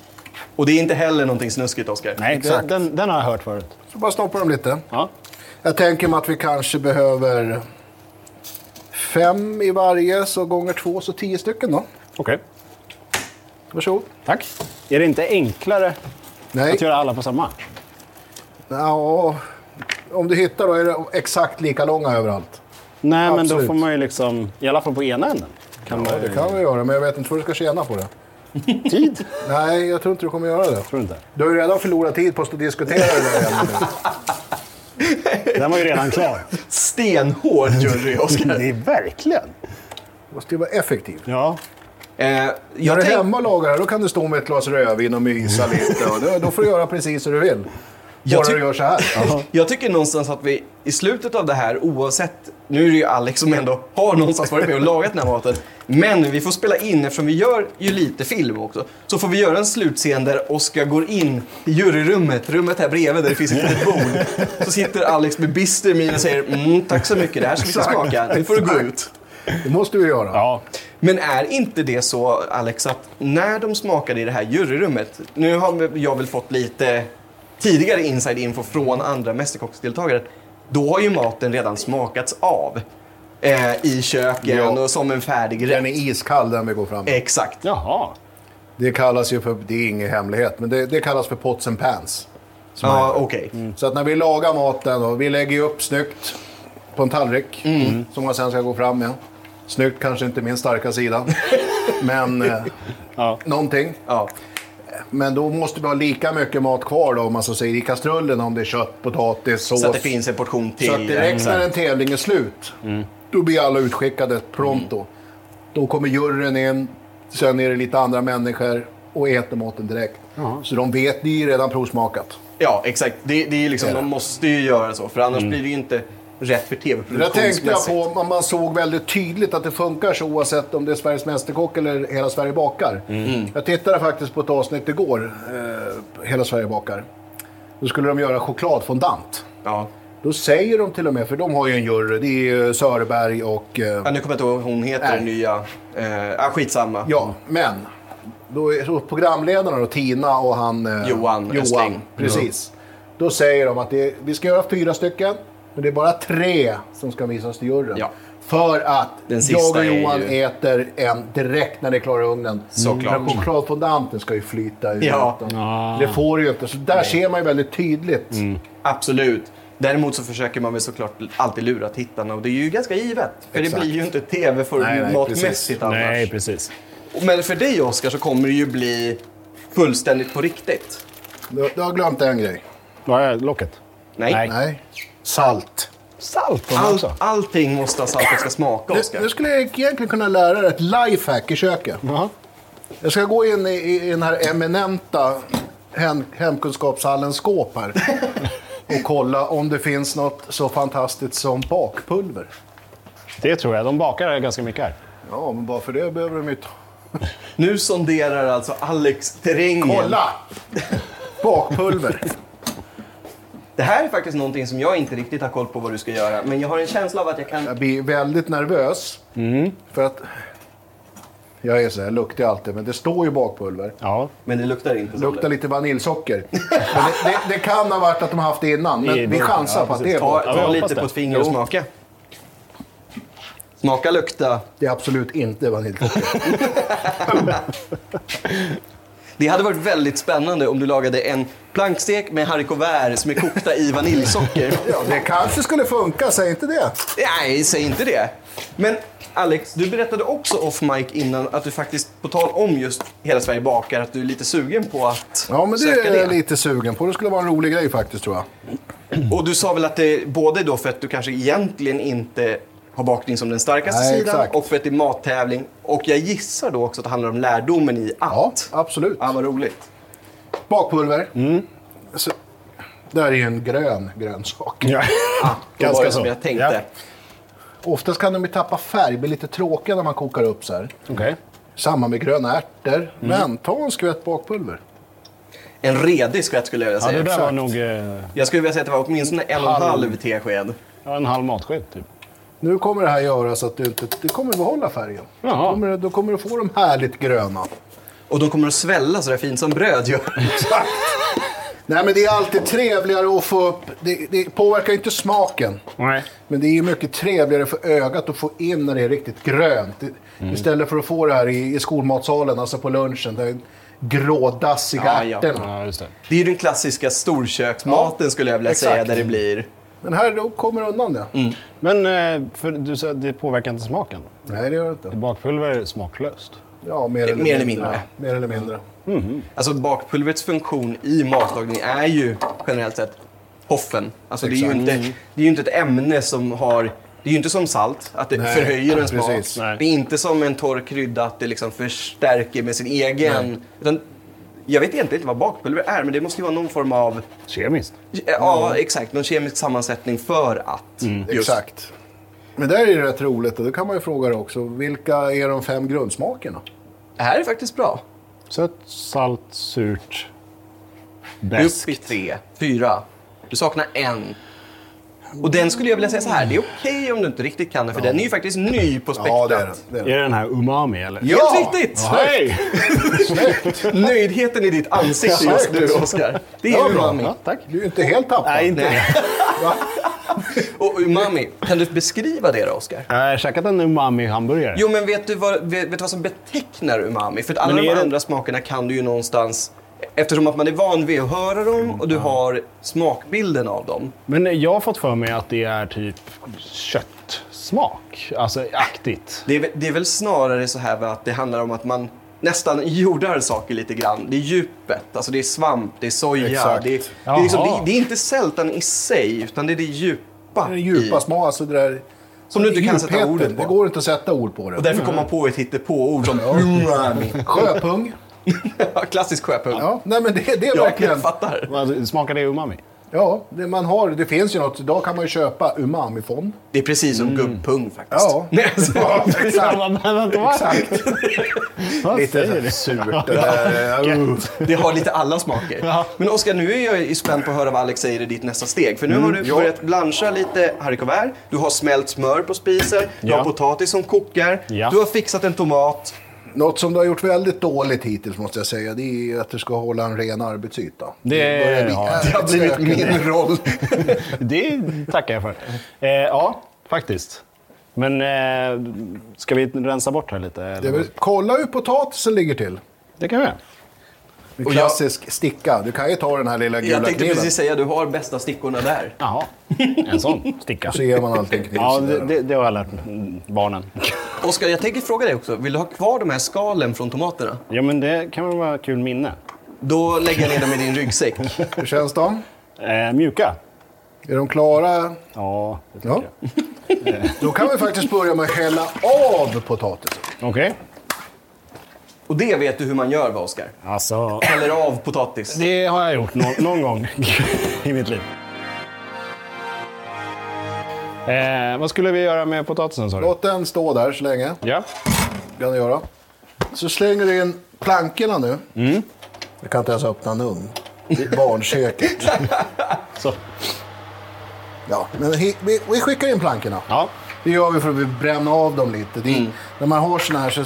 Speaker 2: Och det är inte heller någonting snuskigt, Oskar.
Speaker 1: Nej,
Speaker 3: Exakt.
Speaker 1: den, den har jag hört förut.
Speaker 3: Så bara snoppar dem lite.
Speaker 1: Ja.
Speaker 3: Jag tänker mig att vi kanske behöver fem i varje, så gånger två, så tio stycken då.
Speaker 1: Okej.
Speaker 3: Varsågod.
Speaker 1: Tack. Är det inte enklare
Speaker 3: Nej,
Speaker 1: att göra alla på samma?
Speaker 3: ja, om du hittar då är det exakt lika långa överallt.
Speaker 1: Nej, men då
Speaker 3: Absolut.
Speaker 1: får man ju liksom, i alla fall på ena änden. Kan
Speaker 3: Ja,
Speaker 1: man
Speaker 3: det kan vi göra, men jag vet inte vad du ska tjäna på det.
Speaker 1: Tid?
Speaker 3: Nej, jag tror inte du kommer göra det.
Speaker 1: Tror du inte?
Speaker 3: Du har ju redan förlorat tid på att stå och diskutera det där igen.
Speaker 1: Den var ju redan klar.
Speaker 2: Stenhård jury, Oskar.
Speaker 1: [LAUGHS] Det är verkligen.
Speaker 3: Du måste ju vara effektiv.
Speaker 1: Ja.
Speaker 2: eh,
Speaker 3: När
Speaker 2: jag
Speaker 3: du är
Speaker 2: tänk,
Speaker 3: hemma och lagar det, då kan du stå med ett glas rödvin och mysa lite. Och då, då får du göra precis hur du vill.
Speaker 2: Jag
Speaker 3: Bara
Speaker 2: tyck-
Speaker 3: du gör så här.
Speaker 2: jag tycker någonstans att vi i slutet av det här, oavsett... Nu är det ju Alex som ändå har någonstans varit med och lagat den här maten. Men vi får spela in, eftersom vi gör ju lite film också, så får vi göra en slutscen där Oskar går in i juryrummet, rummet här bredvid där det finns ett litet bord. Så sitter Alex med bister min och säger mm, tack så mycket, det här ska vi inte smaka, nu får du gå ut.
Speaker 3: Det måste du göra.
Speaker 1: Ja.
Speaker 2: Men är inte det så, Alex, att när de smakade i det här juryrummet, nu har jag väl fått lite tidigare inside info från andra Mästerkocksdeltagare, då har ju maten redan smakats av eh, i köken
Speaker 3: Ja.
Speaker 2: och som en färdig
Speaker 3: Den
Speaker 2: rätt.
Speaker 3: är iskall den vi går fram
Speaker 1: Eh.
Speaker 3: med.
Speaker 2: Exakt.
Speaker 1: Jaha.
Speaker 3: Det kallas ju för, det är ingen hemlighet, men det, det kallas för pots and pans.
Speaker 2: Ja, okej.
Speaker 3: Så att när vi lagar maten, och vi lägger ju upp snyggt på en tallrik
Speaker 2: Mm.
Speaker 3: som man sen ska gå fram med. Snyggt kanske inte min
Speaker 2: [LAUGHS]
Speaker 3: starka sida, men eh,
Speaker 1: Ja.
Speaker 3: någonting.
Speaker 2: Ja.
Speaker 3: Men då måste vi ha lika mycket mat kvar då, om man så säger, i kastrullen. Om det är kött, potatis, sås.
Speaker 2: Så att det finns en portion till. Mm.
Speaker 3: Så att direkt när en tävling är slut, då blir alla utskickade pronto. Då kommer juryn in, sen är det lite andra människor och äter maten direkt. Så de vet, ni är redan provsmakat.
Speaker 2: Ja, exakt. Det, det är ju liksom, de måste ju göra så, för annars blir det ju inte rätt för
Speaker 3: Mm. Det där
Speaker 2: tv-produktionsmässigt.
Speaker 3: tänkte jag på, man- man såg väldigt tydligt att det funkar så oavsett om det är Sveriges Mästerkock eller Hela Sverige bakar. Jag tittade faktiskt på ett avsnitt igår, eh, Hela Sverige bakar. Då skulle de göra chokladfondant.
Speaker 2: Ja.
Speaker 3: Då säger de till och med, för de har ju en jury, det är ju Söreberg och... eh,
Speaker 2: Ja, nu kommer jag inte ihåg vad hon heter,
Speaker 3: Nej.
Speaker 2: den nya. Eh, ah, skitsamma.
Speaker 3: Ja, men då är så programledarna då, Tina och han... eh,
Speaker 2: Johan Östling.
Speaker 3: Johan precis. Då säger de att det, vi ska göra fyra stycken, men det är bara tre som ska visas till juryn.
Speaker 2: Ja.
Speaker 3: För att
Speaker 2: Den
Speaker 3: jag
Speaker 2: sista
Speaker 3: och
Speaker 2: är
Speaker 3: Johan
Speaker 2: ju-
Speaker 3: äter en direkt när det är klar i ugnen.
Speaker 2: Såklart.
Speaker 3: Men chokladfondanten ska ju flyta ut.
Speaker 2: Ja.
Speaker 3: Det får du ju inte. Så där ser man ju väldigt tydligt.
Speaker 2: Mm. Absolut. Däremot så försöker man väl såklart alltid lura tittarna och det är ju ganska givet. För
Speaker 3: Exakt.
Speaker 2: det blir ju inte
Speaker 3: Nej, nej, precis.
Speaker 2: tv-formatmässigt annars.
Speaker 1: Nej, precis.
Speaker 2: Men för dig Oscar så kommer det ju bli fullständigt på riktigt.
Speaker 3: Du, du har glömt en grej.
Speaker 1: Var är locket?
Speaker 2: Nej.
Speaker 3: Nej. Salt.
Speaker 1: Salt har man
Speaker 2: Allt,
Speaker 1: också.
Speaker 2: allting måste ha salt och ska smaka
Speaker 3: Nu, nu
Speaker 2: Oscar.
Speaker 3: skulle jag egentligen kunna lära dig ett lifehack i köket.
Speaker 1: Jaha.
Speaker 3: Jag ska gå in i, i den här eminenta hem, hemkunskapshallens skåp här [LAUGHS] och kolla om det finns något så fantastiskt som bakpulver.
Speaker 1: Det tror jag. De bakar ganska mycket här.
Speaker 3: Ja, men bara för det behöver de ju inte...
Speaker 2: Nu sonderar alltså Alex terrängen.
Speaker 3: Kolla! Bakpulver.
Speaker 2: Det här är faktiskt någonting som jag inte riktigt har koll på vad du ska göra. Men jag har en känsla av att jag kan...
Speaker 3: Jag blir väldigt nervös. För att... Jag är så här, luktar ju alltid, men det står ju bakpulver.
Speaker 1: Ja.
Speaker 2: Men det luktar inte så.
Speaker 3: Luktar lite vaniljsocker. Men det, det, det kan ha varit att de har haft det innan,
Speaker 1: I
Speaker 3: men vi
Speaker 1: burken,
Speaker 3: chansar
Speaker 1: ja,
Speaker 3: på att det
Speaker 1: precis.
Speaker 3: är
Speaker 2: Ta,
Speaker 1: Ja,
Speaker 3: bakpulver.
Speaker 1: jag
Speaker 2: ta
Speaker 1: hoppas
Speaker 2: lite på
Speaker 1: det.
Speaker 2: ett finger och
Speaker 1: Jo.
Speaker 2: smaka. Smaka, lukta.
Speaker 3: Det är absolut inte vaniljsocker.
Speaker 2: Det hade varit väldigt spännande om du lagade en plankstek med haricots som är kokta i
Speaker 3: [LAUGHS]
Speaker 2: vaniljsocker.
Speaker 3: Ja, det kanske skulle funka, säg inte det.
Speaker 2: Nej, säg inte det. Men Alex, du berättade också off mic innan att du faktiskt, på tal om just Hela Sverige bakar, att du är lite sugen på att
Speaker 3: Ja, men det
Speaker 2: söka
Speaker 3: är
Speaker 2: det.
Speaker 3: jag lite sugen på. Det skulle vara en rolig grej faktiskt, tror jag.
Speaker 2: Och du sa väl att det både då för att du kanske egentligen inte har bakning som den starkaste
Speaker 3: Nej,
Speaker 2: sidan
Speaker 3: exakt.
Speaker 2: och för att det är mattävling. Och jag gissar då också att det handlar om lärdomen i
Speaker 3: Ja,
Speaker 2: att.
Speaker 3: absolut.
Speaker 2: Ja, vad roligt.
Speaker 3: Bakpulver.
Speaker 1: Mm.
Speaker 3: Så, det här är ju en grön grönsak.
Speaker 1: ja. [LAUGHS]
Speaker 2: Då
Speaker 1: Ganska
Speaker 2: var det
Speaker 1: så.
Speaker 2: som jag tänkte.
Speaker 3: Oftast kan de ju tappa färg, bli lite tråkiga när man kokar upp så här.
Speaker 1: Okej.
Speaker 3: Samma med gröna ärtor.
Speaker 1: Mm.
Speaker 3: Men ta en skvätt bakpulver.
Speaker 2: En redig skvätt skulle jag vilja
Speaker 1: Ja,
Speaker 2: säga.
Speaker 1: det där var
Speaker 3: Exakt.
Speaker 1: nog eh,
Speaker 2: Jag skulle vilja säga att det var åtminstone en och en halv tesked.
Speaker 1: en halv matsked, typ.
Speaker 3: Nu kommer det här göra så att du inte... Du kommer behålla färgen.
Speaker 1: Jaha.
Speaker 3: Kommer, du- då kommer du få de härligt gröna.
Speaker 2: Och de kommer att svälla så där fint som bröd gör.
Speaker 3: Nej, men det är alltid trevligare att få upp... Det, det påverkar ju inte smaken.
Speaker 1: Nej.
Speaker 3: Men det är ju mycket trevligare för ögat att få in när det är riktigt grönt. I-
Speaker 2: Mm.
Speaker 3: Istället för att få det här i, i skolmatsalen, alltså på lunchen. Den grådassiga
Speaker 2: Ja, ja.
Speaker 3: ärtorna.
Speaker 1: Ja, just det.
Speaker 2: Det är ju den klassiska storköksmaten skulle jag vilja
Speaker 3: exakt.
Speaker 2: säga, där det blir...
Speaker 3: Men här då kommer det undan det.
Speaker 2: Mm.
Speaker 1: Men eh, för du sa att det påverkar inte smaken.
Speaker 3: Nej, det gör det inte.
Speaker 1: Bakpulver är smaklöst.
Speaker 3: Ja, mer,
Speaker 2: Eh, Mer eller mindre.
Speaker 3: Ja, mer eller mindre.
Speaker 2: Alltså bakpulverets funktion i matlagning är ju generellt sett hoffen. Alltså det är, ju
Speaker 3: Exakt. Mm.
Speaker 2: inte, det är ju inte ett ämne som har... Det är ju inte som salt, att det
Speaker 3: Nej,
Speaker 2: förhöjer en
Speaker 3: precis.
Speaker 2: smak.
Speaker 1: Nej.
Speaker 2: Det är inte som en torr krydda, att det liksom förstärker med sin egen. Utan, jag vet egentligen inte vad bakpulver är, men det måste ju vara någon form av...
Speaker 1: Kemiskt.
Speaker 2: Ja, exakt. Någon kemisk sammansättning för att... just-
Speaker 3: Mm. Exakt. Men där är det rätt roligt och då kan man ju fråga dig också, vilka är de fem grundsmakerna?
Speaker 2: Det här är faktiskt bra.
Speaker 1: Sött, salt, surt,
Speaker 2: Du är
Speaker 1: bäst.
Speaker 2: uppe i tre, fyra. Du saknar en. Och den skulle jag vilja säga så här, det är okej om du inte riktigt kan den, för den är ju faktiskt ny på spektrat.
Speaker 3: Ja, det är det. det, är
Speaker 1: Är det den här umami, eller?
Speaker 2: Helt
Speaker 3: Ja!
Speaker 2: riktigt!
Speaker 1: Hej!
Speaker 2: [LAUGHS] Nöjdheten i ditt ansikte just nu, Oscar. Det
Speaker 3: Det
Speaker 2: är
Speaker 3: var bra.
Speaker 2: umami.
Speaker 1: Ja, tack.
Speaker 3: det. Du är inte helt tappad.
Speaker 1: Nej, inte det.
Speaker 2: [LAUGHS] Och umami, kan du beskriva det då, Oscar?
Speaker 1: Jag har käkat en umami-hamburgare.
Speaker 2: Jo, men vet du vad, vet, vet du vad som betecknar umami? För att alla
Speaker 1: Men
Speaker 2: de
Speaker 1: är det-
Speaker 2: andra smakerna kan du ju någonstans... Eftersom att man är van vid att höra dem och du har smakbilden av dem.
Speaker 1: Men jag har fått för mig att det är typ köttsmak. Alltså aktigt.
Speaker 2: Det är, väl- det är väl snarare så här va, att det handlar om att man nästan jordar saker lite grann. Det är djupet, alltså det är svamp, det är soja.
Speaker 3: Exakt.
Speaker 2: Det är, det, är liksom, det,
Speaker 1: Jaha.
Speaker 2: är, det är inte sältan i sig, utan det är det djupa.
Speaker 3: Den djupa
Speaker 2: i.
Speaker 3: smak, alltså det där...
Speaker 2: Som du inte kan sätta
Speaker 3: djupheten.
Speaker 2: orden på.
Speaker 3: Det går inte att sätta ord på det.
Speaker 2: Och därför kommer man på ett hittepåord som umami. [LAUGHS]
Speaker 3: Sjöpung.
Speaker 2: Klassisk sjöpung.
Speaker 3: Ja, nej men det, det är
Speaker 2: Ja,
Speaker 3: verkligen...
Speaker 2: jag fattar.
Speaker 1: Vad- Smakar det umami?
Speaker 3: Ja, det, man har, det finns ju något. Idag kan man ju köpa umamifond.
Speaker 2: Det är precis som gubbpung faktiskt. [LAUGHS]
Speaker 3: Ja.
Speaker 2: Nej, alltså,
Speaker 1: Vad- vad- vad- vad-
Speaker 3: Exakt. [LAUGHS]
Speaker 1: Vad
Speaker 3: Lite så
Speaker 1: säger
Speaker 3: här
Speaker 1: du?
Speaker 3: surt. Det där, uh.
Speaker 2: det har lite alla smaker.
Speaker 1: Ja.
Speaker 2: Men Oskar, nu är jag ju spänd på att höra vad Alex säger i ditt nästa steg. För nu har du
Speaker 3: ja.
Speaker 2: börjat blancha lite haricots verts, du har smält smör på spisen, du
Speaker 1: Ja.
Speaker 2: har potatis som kokar,
Speaker 1: Ja.
Speaker 2: du har fixat en tomat.
Speaker 3: Något som du har gjort väldigt dåligt hittills måste jag säga, det är ju att du ska hålla en ren arbetsyta.
Speaker 1: Det-
Speaker 3: börjar bli
Speaker 1: ja.
Speaker 3: jävligt
Speaker 2: Det har blivit
Speaker 3: stökigt.
Speaker 2: min roll.
Speaker 1: Det tackar jag för. Eh, ja, faktiskt. Men eh, ska vi rensa bort här lite?
Speaker 3: Det
Speaker 1: eller?
Speaker 3: är väl, kolla hur potatisen ligger till.
Speaker 1: det kan vi göra.
Speaker 3: En
Speaker 2: Och jag-
Speaker 3: klassisk sticka. Du kan ju ta den här lilla
Speaker 2: Jag
Speaker 3: gula
Speaker 2: tänkte
Speaker 3: kniven.
Speaker 2: precis säga, du har bästa stickorna där.
Speaker 1: Jaha, en sån sticka.
Speaker 3: [LAUGHS] Så ger man
Speaker 2: [LAUGHS]
Speaker 3: alltid en kniv.
Speaker 1: Ja,
Speaker 3: sådär.
Speaker 1: det, det, det har jag lärt mm, barnen.
Speaker 2: Oskar, jag tänker fråga dig också. Vill du ha kvar de här skalen från tomaterna?
Speaker 1: Ja, men det kan väl vara ett kul minne.
Speaker 2: Då lägger jag ner dem i din ryggsäck.
Speaker 3: Hur känns de?
Speaker 1: Eh, mjuka?
Speaker 3: Är de klara?
Speaker 1: Ja, det tycker
Speaker 2: [LAUGHS]
Speaker 3: Ja. Då kan vi faktiskt börja med att hälla av potatisen.
Speaker 1: jag. Okej.
Speaker 2: Och det vet du hur man gör va, Oskar?
Speaker 1: Alltså,
Speaker 2: Häller av potatis.
Speaker 1: det har jag gjort nå- någon gång i mitt liv. Eh, vad skulle vi göra med potatisen sa du?
Speaker 3: Låt den stå där så länge.
Speaker 1: Ja.
Speaker 3: kan du göra. Så slänger du in plankorna nu. Jag kan inte ens öppna en ugn. Det är Barnköket.
Speaker 1: Så.
Speaker 3: Ja, men hi- vi, vi skickar in plankorna.
Speaker 1: ja.
Speaker 3: Det gör vi för att bränna av dem lite. Det, är- När man har såna här så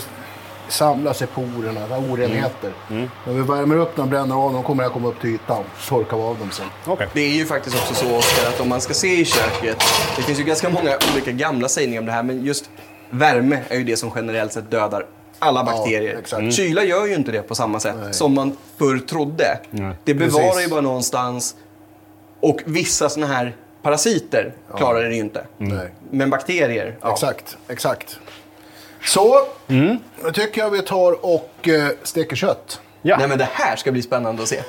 Speaker 3: samlas sig porerna, så här orenheter. När vi värmer upp dem och bränner av dem kommer det här komma upp till ytan. Torkar vi av dem sen.
Speaker 1: Okej.
Speaker 2: Det är ju faktiskt också så, Oskar, att om man ska se i köket. Det finns ju ganska många olika gamla sägningar om det här, men just värme är ju det som generellt sett dödar alla bakterier.
Speaker 3: exakt. Mm.
Speaker 2: Kyla gör ju inte det på samma sätt
Speaker 3: Nej.
Speaker 2: som man förr trodde.
Speaker 1: Nej.
Speaker 2: Det bevarar
Speaker 3: Precis.
Speaker 2: ju bara någonstans. Och vissa såna här parasiter klarar det ju inte.
Speaker 3: Nej.
Speaker 2: Men bakterier, ja.
Speaker 3: Exakt, exakt. Så, då tycker jag vi tar och eh, steker kött.
Speaker 1: Ja.
Speaker 2: Nej men det här ska bli spännande att se.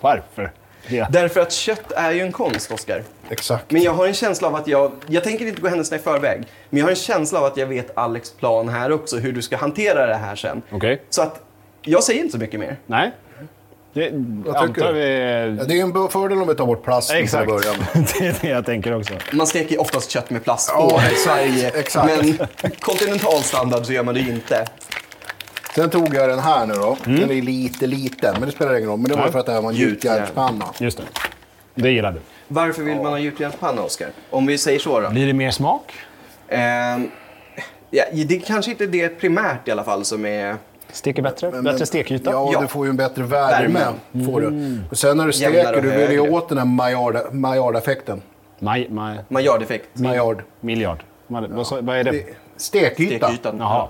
Speaker 1: Varför? Ja.
Speaker 2: Därför att kött är ju en konst, Oskar.
Speaker 3: Exakt.
Speaker 2: Men jag har en känsla av att jag, jag tänker inte gå händelserna i förväg, men jag har en känsla av att jag vet Alex plan här också, hur du ska hantera det här sen.
Speaker 1: Okej.
Speaker 2: Så att jag säger inte så mycket mer.
Speaker 1: Nej. Det
Speaker 3: Vad tycker
Speaker 1: antar
Speaker 3: du? Ja,
Speaker 1: vi...
Speaker 3: det är en bu- fördel om vi tar bort plasten
Speaker 1: Exakt.
Speaker 3: till början.
Speaker 1: [LAUGHS] det är det jag tänker också.
Speaker 2: Man steker oftast kött med plast på
Speaker 3: Ja,
Speaker 2: här i
Speaker 3: exakt,
Speaker 2: Sverige,
Speaker 3: exakt.
Speaker 2: men kontinental standard så gör man det ju inte.
Speaker 3: Sen tog jag den här nu då. Den är lite liten, men det spelar ingen roll. Men det var
Speaker 1: Nej.
Speaker 3: för att det här var en gjutjärnspanna.
Speaker 1: Just det. Det gillar du.
Speaker 2: Varför vill man ha gjutjärnspanna, Oskar? Om vi säger så då.
Speaker 1: Blir det mer smak?
Speaker 2: Ehm, ja, det kanske inte är det primärt i alla fall som är...
Speaker 1: Steker bättre? bättre stekyta?
Speaker 3: Ja,
Speaker 2: Ja.
Speaker 3: du får ju en bättre värme. Får du. Och sen när
Speaker 2: Jämnare
Speaker 3: du steker,
Speaker 2: och
Speaker 3: du vill ju
Speaker 2: högre.
Speaker 3: åt den här Maillard- Maillard-effekten.
Speaker 1: Maj, maj,
Speaker 2: Maillard-effekt.
Speaker 3: Maillard.
Speaker 1: miljard. Vad, vad sa- vad är det?
Speaker 3: Det- Stekyta.
Speaker 2: Stekytan.
Speaker 1: Jaha.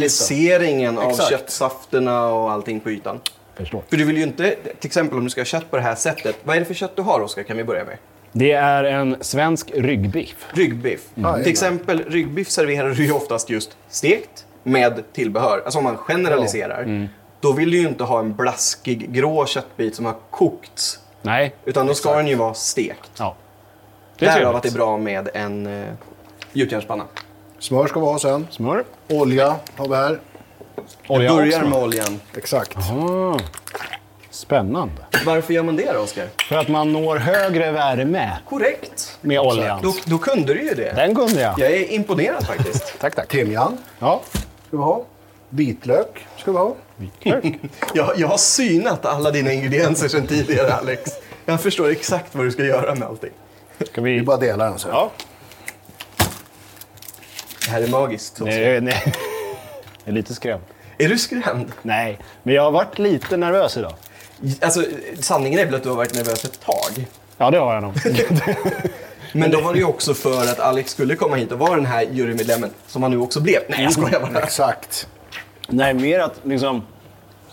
Speaker 2: Karamelliseringen av
Speaker 3: Exakt.
Speaker 2: köttsafterna och allting på ytan.
Speaker 1: Förstår.
Speaker 2: För du vill ju inte, till exempel om du ska ha kött på det här sättet. Vad är det för kött du har Oskar, kan vi börja med?
Speaker 1: Det är en svensk ryggbiff.
Speaker 2: Ryggbiff.
Speaker 1: Mm.
Speaker 3: jajamän.
Speaker 2: Till exempel ryggbiff serverar du ju oftast just stekt med tillbehör. Alltså om man generaliserar.
Speaker 1: Mm.
Speaker 2: Då vill du ju inte ha en blaskig grå köttbit som har kokts.
Speaker 1: Nej.
Speaker 2: Utan då ska den ju vara stekt.
Speaker 1: Ja. Det är
Speaker 2: Därav
Speaker 1: trevligt.
Speaker 2: att det är bra med en uh, gjutjärnspanna.
Speaker 3: Smör ska vi ha sen.
Speaker 1: Smör.
Speaker 3: Olja har vi här.
Speaker 1: Olja och
Speaker 2: Börjar
Speaker 1: smör.
Speaker 2: med oljan.
Speaker 3: Exakt.
Speaker 1: Ah. Spännande.
Speaker 2: Varför gör man det då Oskar?
Speaker 1: För att man når högre värme
Speaker 2: Korrekt.
Speaker 1: med oljan.
Speaker 2: Då, då kunde du ju det.
Speaker 1: Den kunde jag.
Speaker 2: Jag är imponerad faktiskt.
Speaker 1: Tack, tack.
Speaker 3: Timjan
Speaker 1: Ja.
Speaker 3: ska vi ha. Vitlök ska vi ha.
Speaker 2: Jag, jag har synat alla dina ingredienser sedan tidigare, Alex. Jag förstår exakt vad du ska göra med allting.
Speaker 1: Ska
Speaker 3: Vi
Speaker 1: vi...
Speaker 3: bara delar den sen.
Speaker 1: Ja.
Speaker 2: Det här är magiskt.
Speaker 1: Nej, nej. Jag är lite skrämd.
Speaker 2: Är du skrämd?
Speaker 1: Nej, men jag har varit lite nervös idag.
Speaker 2: Alltså, sanningen är väl att du har varit nervös ett tag.
Speaker 1: Ja, det har jag nog.
Speaker 2: Men då var det ju också för att Alex skulle komma hit och vara den här jurymedlemmen, som han nu också blev. Nej, jag skojar
Speaker 3: Mm.
Speaker 2: bara.
Speaker 3: Exakt.
Speaker 1: Nej, mer att liksom...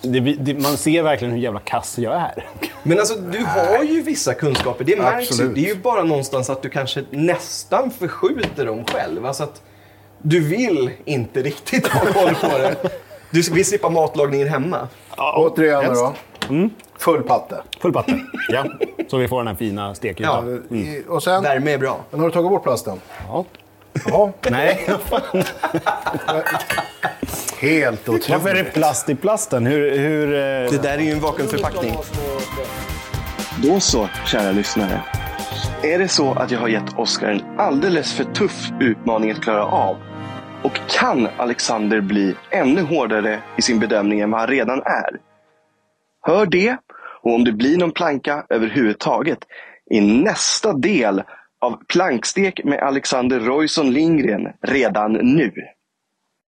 Speaker 1: Det, det, man ser verkligen hur jävla kass jag är.
Speaker 2: Men alltså, du har ju vissa kunskaper. Det märks ju.
Speaker 3: Absolut.
Speaker 2: Det är ju bara någonstans att du kanske nästan förskjuter dem själv. Alltså att du vill inte riktigt ha koll på det. Du vill slippa matlagningen hemma.
Speaker 3: Återigen nu då. Full patte.
Speaker 1: Full patte. Ja, så vi får den här fina stekytan.
Speaker 2: Ja.
Speaker 3: I- Och sen,
Speaker 2: Värme är bra.
Speaker 3: sen har du tagit bort plasten.
Speaker 1: Ja.
Speaker 3: Ja,
Speaker 1: Nej,
Speaker 3: helt otroligt.
Speaker 1: varför är det plast i plasten? Hur... hur eh,
Speaker 2: Det där är ju en vakuumförpackning.
Speaker 4: Då så, kära lyssnare. Är det så att jag har gett Oscar en alldeles för tuff utmaning att klara av? Och kan Alexander bli ännu hårdare i sin bedömning än vad han redan är? Hör det, och om det blir någon planka överhuvudtaget, i nästa del av Plankstek med Alexander Royson Lindgren redan nu.